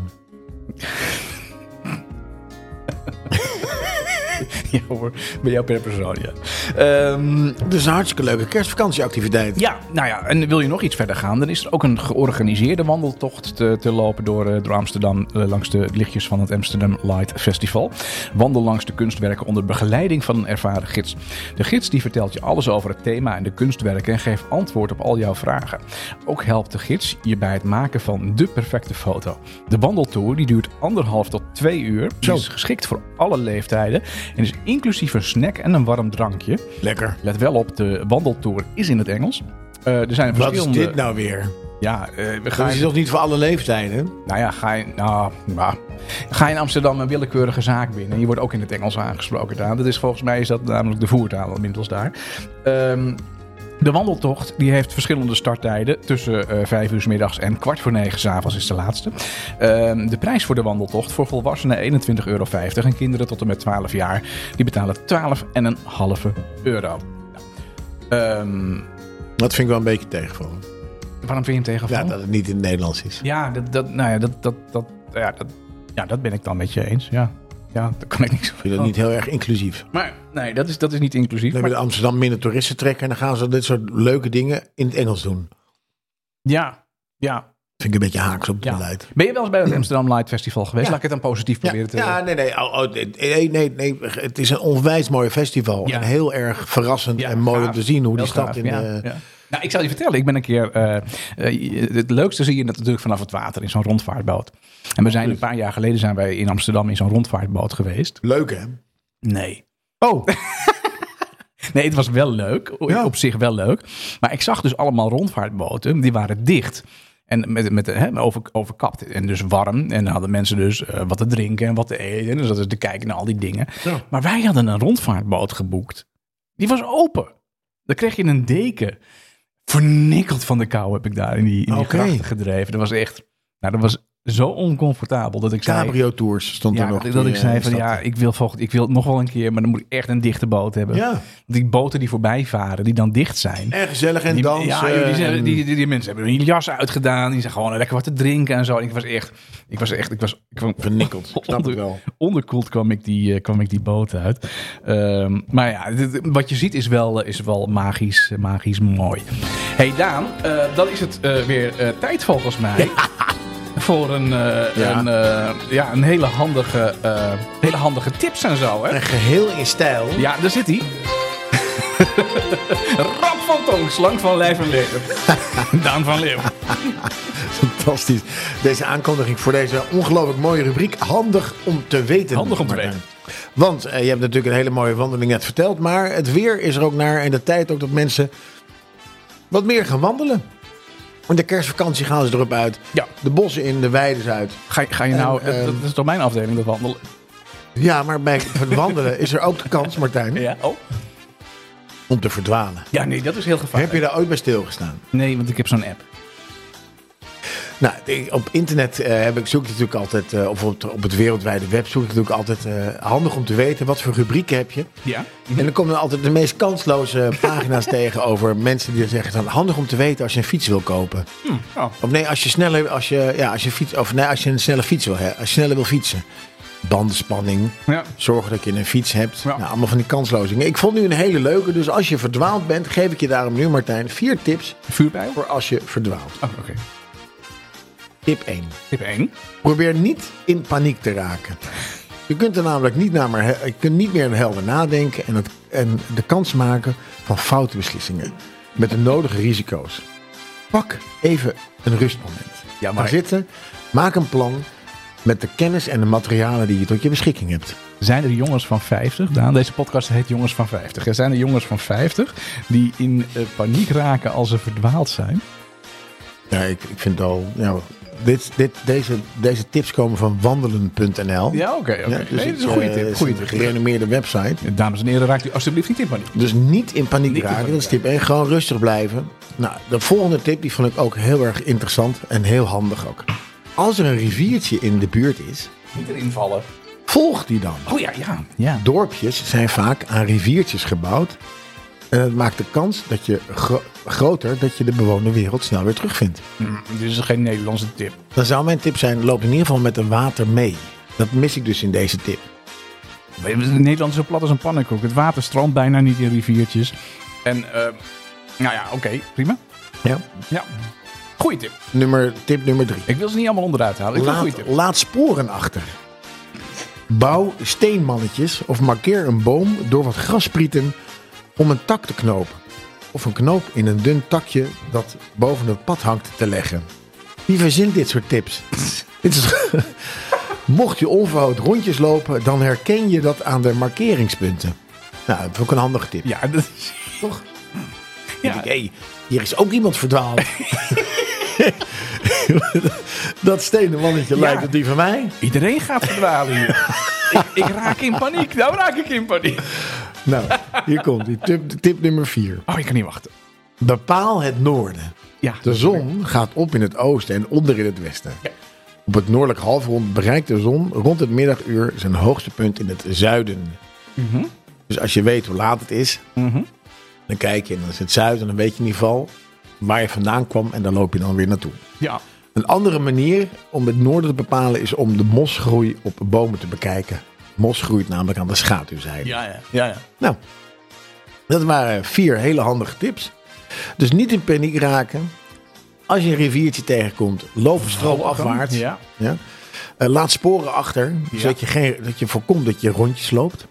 Speaker 1: Ja hoor, bij jou per persoon, ja. Ehm,
Speaker 2: Dat is Dus een hartstikke leuke kerstvakantieactiviteit.
Speaker 1: ja, nou ja, en wil je nog iets verder gaan, dan is er ook een georganiseerde wandeltocht te, te lopen door, eh, door Amsterdam eh, langs de lichtjes van het Amsterdam Light Festival. Wandel langs de kunstwerken onder begeleiding van een ervaren gids. De gids die vertelt je alles over het thema en de kunstwerken en geeft antwoord op al jouw vragen. Ook helpt de gids je bij het maken van de perfecte foto. De wandeltour die duurt anderhalf tot twee uur. Die is geschikt voor alle leeftijden en is inclusief een snack en een warm drankje.
Speaker 2: Lekker.
Speaker 1: Let wel op, de wandeltour is in het Engels. Eh, er zijn
Speaker 2: Wat is
Speaker 1: verschillende...
Speaker 2: dit nou weer?
Speaker 1: Ja, eh, we
Speaker 2: Dat
Speaker 1: gaan...
Speaker 2: is toch niet voor alle leeftijden?
Speaker 1: Nou ja, ga je, nou, nou, ga je in Amsterdam een willekeurige zaak binnen... en je wordt ook in het Engels aangesproken daar. Dat is volgens mij is dat namelijk de voertaal inmiddels daar. Ehm, de wandeltocht die heeft verschillende starttijden. Tussen eh 5 uur 's middags en kwart voor negen 's avonds is de laatste. Ehm, de prijs voor de wandeltocht voor volwassenen 21,50 euro. En kinderen tot en met 12 jaar die betalen 12,5 euro. Nou, ehm,
Speaker 2: Dat vind ik wel een beetje tegenvallen.
Speaker 1: Waarom vind je hem
Speaker 2: Ja,
Speaker 1: tegenvallen?
Speaker 2: dat het niet in het Nederlands is.
Speaker 1: Ja, dat, dat, nou ja, dat, dat, dat, ja, dat, ja, dat ben ik dan met je eens. Ja, ja daar kan ik niks
Speaker 2: Ik vind
Speaker 1: over
Speaker 2: dat niet heel erg inclusief.
Speaker 1: Maar nee, dat is, dat is niet inclusief. Oh.
Speaker 2: Dan
Speaker 1: Maar,
Speaker 2: hebben we Amsterdam minder toeristen trekken en dan gaan ze dit soort leuke dingen in het Engels doen.
Speaker 1: ja, ja,
Speaker 2: Vind ik een beetje haaks op het
Speaker 1: ja.
Speaker 2: beleid.
Speaker 1: Ben je wel eens bij het Amsterdam Light Festival geweest?
Speaker 2: Ja.
Speaker 1: Laat ik het eh, dan positief
Speaker 2: Ja,
Speaker 1: proberen te...
Speaker 2: ja, nee, nee, oh, oh, nee, nee, nee. Het is een onwijs mooi festival.
Speaker 1: Ja.
Speaker 2: En heel erg verrassend
Speaker 1: Ja,
Speaker 2: en mooi om
Speaker 1: gaaf.
Speaker 2: te zien hoe die
Speaker 1: Heel
Speaker 2: stad
Speaker 1: gaaf,
Speaker 2: in eh,
Speaker 1: ja,
Speaker 2: de-
Speaker 1: ja. Nou, ik zal je vertellen, ik ben een keer. eh, eh, het leukste zie je dat natuurlijk vanaf het water in zo'n rondvaartboot. En we zijn een paar jaar geleden zijn wij in Amsterdam in zo'n rondvaartboot geweest.
Speaker 2: Leuk, hè?
Speaker 1: Nee.
Speaker 2: Oh,
Speaker 1: *laughs* Nee, het was wel leuk. O-
Speaker 2: Ja.
Speaker 1: Op zich wel leuk. Maar ik zag dus allemaal rondvaartboten. Die waren dicht. En met, met, hè, over, overkapt. En dus warm. En dan hadden mensen dus eh, wat te drinken en wat te eten. Dus dat is te kijken naar al die dingen.
Speaker 2: Ja.
Speaker 1: Maar wij hadden een rondvaartboot geboekt. Die was open. Dan kreeg je een deken. Vernikkeld van de kou heb ik daar in die, in die
Speaker 2: Oké.
Speaker 1: grachten gedreven. Dat was echt... Nou, dat was zo oncomfortabel dat ik zei...
Speaker 2: Cabrio Tours stond
Speaker 1: Ja,
Speaker 2: er nog.
Speaker 1: dat, dat
Speaker 2: die,
Speaker 1: ik zei
Speaker 2: eh,
Speaker 1: van
Speaker 2: stad.
Speaker 1: ja, ik wil, volgend, ik wil nog wel een keer, maar dan moet ik echt een dichte boot hebben.
Speaker 2: Ja.
Speaker 1: Die boten die voorbij varen, die dan dicht zijn.
Speaker 2: En gezellig en
Speaker 1: die,
Speaker 2: dansen.
Speaker 1: ja, joh, die,
Speaker 2: en-
Speaker 1: zijn- die, die, die mensen hebben hun jas uitgedaan. Die zijn gewoon lekker wat te drinken en zo. En ik was echt, ik was echt, ik was, ik kwam
Speaker 2: Vernikkeld, ik snap het
Speaker 1: *laughs* onder-
Speaker 2: wel.
Speaker 1: Onderkoeld kwam ik die, eh, kwam ik die boot uit. Ehm, maar ja, dit- wat je ziet is wel, eh, is wel magisch, eh, magisch mooi. Hey Daan, eh, dan is het eh, weer eh, tijd volgens mij. *laughs* Voor een, eh,
Speaker 2: Ja.
Speaker 1: een, eh, ja, een hele, handige, eh, hele handige tips en zo. Hè?
Speaker 2: En geheel in stijl.
Speaker 1: Ja, daar zit
Speaker 2: *laughs*
Speaker 1: hij. Rap van tong, slank van lijf en leden.
Speaker 2: *laughs*
Speaker 1: Daan van Leeuw.
Speaker 2: Fantastisch. Deze aankondiging voor deze ongelooflijk mooie rubriek. Handig om te weten.
Speaker 1: Handig om te
Speaker 2: Martijn.
Speaker 1: weten.
Speaker 2: Want eh, je hebt natuurlijk een hele mooie wandeling net verteld. Maar het weer is er ook naar. En de tijd ook dat mensen wat meer gaan wandelen. Want de kerstvakantie gaan ze erop uit.
Speaker 1: Ja.
Speaker 2: De bossen in, de weides uit.
Speaker 1: Ga, ga je nou,
Speaker 2: En, ehm,
Speaker 1: dat is toch mijn afdeling, dat wandelen?
Speaker 2: Ja, maar bij het wandelen is er ook de kans, Martijn,
Speaker 1: Ja, oh.
Speaker 2: om te verdwalen.
Speaker 1: ja nee, dat is heel gevaarlijk.
Speaker 2: Heb je daar ooit bij stilgestaan?
Speaker 1: Nee, want ik heb zo'n app.
Speaker 2: Nou, ik- op internet eh, heb ik, zoek ik natuurlijk altijd, eh, of op, op het wereldwijde web zoek ik natuurlijk altijd eh, handig om te weten wat voor rubrieken heb je.
Speaker 1: Ja.
Speaker 2: En dan komen er altijd de meest
Speaker 1: *laughs*
Speaker 2: kansloze pagina's tegen over mensen die dan zeggen: dan, handig om te weten als je een fiets wil kopen.
Speaker 1: oh.
Speaker 2: Of nee, als je sneller, als je, ja, als je fiets, of nee, als je een snelle fiets wil, hè, als je sneller wil fietsen. Bandenspanning,
Speaker 1: Ja.
Speaker 2: zorgen dat je een fiets hebt.
Speaker 1: Ja.
Speaker 2: Nou, allemaal van die kanslozingen. Ik vond nu een hele leuke, dus als je verdwaald bent, geef ik je daarom nu, Martijn, vier tips
Speaker 1: Vuurpijl?
Speaker 2: voor als je verdwaalt.
Speaker 1: Oh, oké.
Speaker 2: Tip 1.
Speaker 1: Tip 1.
Speaker 2: Probeer niet in paniek te raken. Je kunt er namelijk niet, naar maar, je kunt niet meer helder nadenken en, het, en de kans maken van foute beslissingen. Met de nodige risico's. Pak even een rustmoment.
Speaker 1: Ja,
Speaker 2: Ja,
Speaker 1: maar-
Speaker 2: maar... Ga zitten, maak een plan met de kennis en de materialen die je tot je beschikking hebt.
Speaker 1: Zijn er jongens van 50? Daan, deze podcast heet Jongens van 50. Er zijn er jongens van 50 die in eh, paniek raken als ze verdwaald zijn?
Speaker 2: Ja, ik, ik vind al. Ja, dit, dit, deze, deze tips komen van wandelen.nl.
Speaker 1: Ja, oké. oké.
Speaker 2: Ja,
Speaker 1: nee,
Speaker 2: dus
Speaker 1: dat is een goede
Speaker 2: eh,
Speaker 1: tip.
Speaker 2: is
Speaker 1: Goede
Speaker 2: een
Speaker 1: tip.
Speaker 2: gerenommeerde website.
Speaker 1: Dames en heren, raakt u alsjeblieft niet in paniek.
Speaker 2: Dus niet in paniek
Speaker 1: Niet in
Speaker 2: raken,
Speaker 1: paniek
Speaker 2: dat is tip 1. Gewoon rustig blijven. Nou, de volgende tip die vond ik ook heel erg interessant en heel handig ook. Als er een riviertje in de buurt is,
Speaker 1: Niet erin vallen.
Speaker 2: volg die dan.
Speaker 1: Oh ja, ja. Ja,
Speaker 2: Dorpjes zijn vaak aan riviertjes gebouwd. En dat maakt de kans dat je gro- groter dat je de bewoonde wereld snel weer terugvindt.
Speaker 1: Mm, dit is geen Nederlandse tip.
Speaker 2: Dan zou mijn tip zijn, loop in ieder geval met een water mee. Dat mis ik dus in deze tip.
Speaker 1: Nederland is zo plat als een pannenkoek. Het water stroomt bijna niet in riviertjes. En, eh, nou ja, oké, prima.
Speaker 2: Ja.
Speaker 1: Ja, goede tip.
Speaker 2: Nummer, tip nummer 3.
Speaker 1: Ik wil ze niet allemaal onderuit halen. Ik vind het een
Speaker 2: Laat,
Speaker 1: goede tip.
Speaker 2: laat sporen achter. Bouw steenmannetjes of markeer een boom door wat grasprieten om een tak te knopen. Of een knoop in een dun takje dat boven het pad hangt te leggen. Wie verzint dit soort tips? *laughs* dit is, mocht je onverhoopt rondjes lopen, dan herken je dat aan de markeringspunten. Nou, dat is ook een handige tip.
Speaker 1: Ja, dat is...
Speaker 2: Toch?
Speaker 1: Ja,
Speaker 2: Hé, hier is ook iemand
Speaker 1: *laughs*
Speaker 2: verdwaald. *laughs* dat stenen mannetje
Speaker 1: Ja.
Speaker 2: lijkt op die van mij.
Speaker 1: iedereen gaat verdwalen hier. *laughs* ik, ik raak in paniek. Nou raak ik in paniek.
Speaker 2: Nou, hier komt die tip, tip nummer 4.
Speaker 1: Oh, ik kan niet wachten.
Speaker 2: Bepaal het noorden.
Speaker 1: Ja.
Speaker 2: De zon gaat op in het oosten en onder in het westen.
Speaker 1: Ja.
Speaker 2: Op het noordelijk halfrond bereikt de zon rond het middaguur zijn hoogste punt in het zuiden.
Speaker 1: Mhm.
Speaker 2: Dus als je weet hoe laat het is, dan kijk je en dan is het zuiden en dan weet je in ieder geval waar je vandaan kwam en daar loop je dan weer naartoe.
Speaker 1: Ja.
Speaker 2: Een andere manier om het noorden te bepalen is om de mosgroei op bomen te bekijken. Mos groeit namelijk aan de schaduwzijde.
Speaker 1: Ja, ja. ja, ja.
Speaker 2: Nou, dat waren vier hele handige tips. Dus niet in paniek raken. Als je een riviertje tegenkomt, loop stroomafwaarts.
Speaker 1: Ja.
Speaker 2: Ja. Eh, laat sporen achter, zodat je, geen, dat je voorkomt dat je rondjes loopt.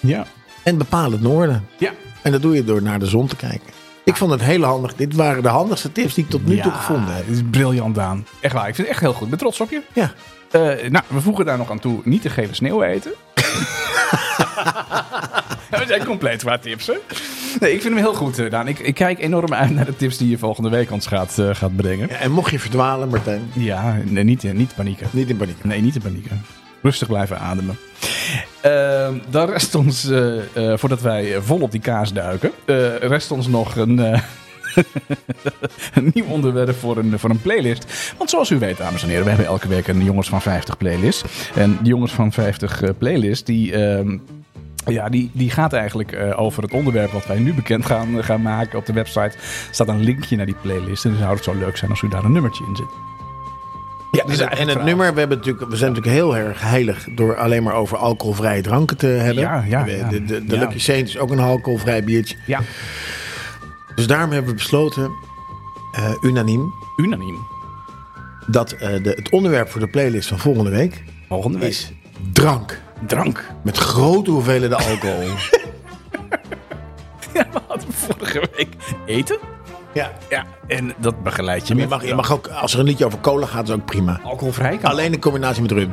Speaker 1: Ja.
Speaker 2: En bepaal het noorden.
Speaker 1: Ja.
Speaker 2: En dat doe je door naar de zon te kijken. Ik vond het heel handig. Dit waren de handigste tips die ik tot nu toe gevonden heb.
Speaker 1: Het is briljant, Daan. Echt waar. Ik vind het echt heel goed. Ik ben trots op je.
Speaker 2: Ja.
Speaker 1: Eh, nou, we voegen daar nog aan toe niet te geven sneeuw *laughs* eten. Nou, we zijn compleet qua tips, hè? Nee, ik vind hem heel goed, eh, Daan. Ik, ik kijk enorm uit naar de tips die je volgende week ons gaat, eh, gaat brengen.
Speaker 2: En mocht je verdwalen, Martijn,
Speaker 1: Ja, nee, niet, eh, niet panieken.
Speaker 2: niet in paniek.
Speaker 1: Nee, niet te panieken. Rustig blijven ademen. Ehm, dan rest ons, eh, eh, voordat wij eh, vol op die kaas duiken, eh, rest ons nog een, eh, *laughs* een nieuw onderwerp voor een, voor een playlist. Want zoals u weet, dames en heren, we hebben elke week een Jongens van 50 playlist. En die Jongens van 50 eh, playlist, die... ehm, ja, die, die gaat eigenlijk eh, over het onderwerp wat wij nu bekend gaan, gaan maken. Op de website staat een linkje naar die playlist. En dan zou het zo leuk zijn als u daar een nummertje in zit.
Speaker 2: Ja,
Speaker 1: is
Speaker 2: Dus en-
Speaker 1: eigenlijk
Speaker 2: en het
Speaker 1: verhaal.
Speaker 2: nummer, we, hebben natuurlijk, we zijn natuurlijk heel erg heilig door alleen maar over alcoholvrije dranken te hebben.
Speaker 1: Ja, ja,
Speaker 2: de
Speaker 1: ja.
Speaker 2: de, de, de
Speaker 1: Ja.
Speaker 2: Lucky Saint is ook een alcoholvrij biertje.
Speaker 1: Ja,
Speaker 2: Dus daarom hebben we besloten, eh, unaniem,
Speaker 1: unaniem.
Speaker 2: dat eh, de, het onderwerp voor de playlist van volgende week
Speaker 1: Volgende week.
Speaker 2: is drank.
Speaker 1: Drank.
Speaker 2: Met grote hoeveelheden alcohol.
Speaker 1: *laughs* Ja, we hadden vorige week eten.
Speaker 2: ja.
Speaker 1: Ja, en dat begeleid je
Speaker 2: Je
Speaker 1: met eh,
Speaker 2: mag, je mag ook, als er een liedje over cola gaat, is ook prima.
Speaker 1: alcoholvrij kan.
Speaker 2: Alleen in combinatie met rum.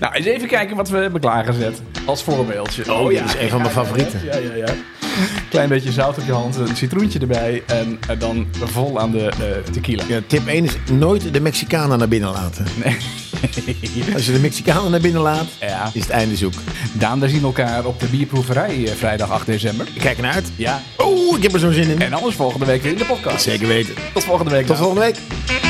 Speaker 1: Nou, eens even kijken wat we hebben klaargezet als voorbeeldje.
Speaker 2: Oh, dit is een van mijn favorieten.
Speaker 1: Oh, Ja, ja, ja. Klein beetje zout op je hand, een citroentje erbij en eh, dan vol aan de eh, tequila.
Speaker 2: Ja, tip 1 is nooit de Mexicanen naar binnen laten. *laughs* Als je de Mexicanen naar binnen laat,
Speaker 1: Ja.
Speaker 2: is het einde zoek.
Speaker 1: Daan, daar zien we elkaar op de bierproeverij eh, vrijdag 8 december.
Speaker 2: Ik kijk ernaar uit.
Speaker 1: Ja.
Speaker 2: Oeh, ik heb er zo zin in.
Speaker 1: En anders volgende week weer in de podcast.
Speaker 2: Zeker weten.
Speaker 1: Tot volgende week.
Speaker 2: Tot
Speaker 1: Daan.
Speaker 2: volgende week.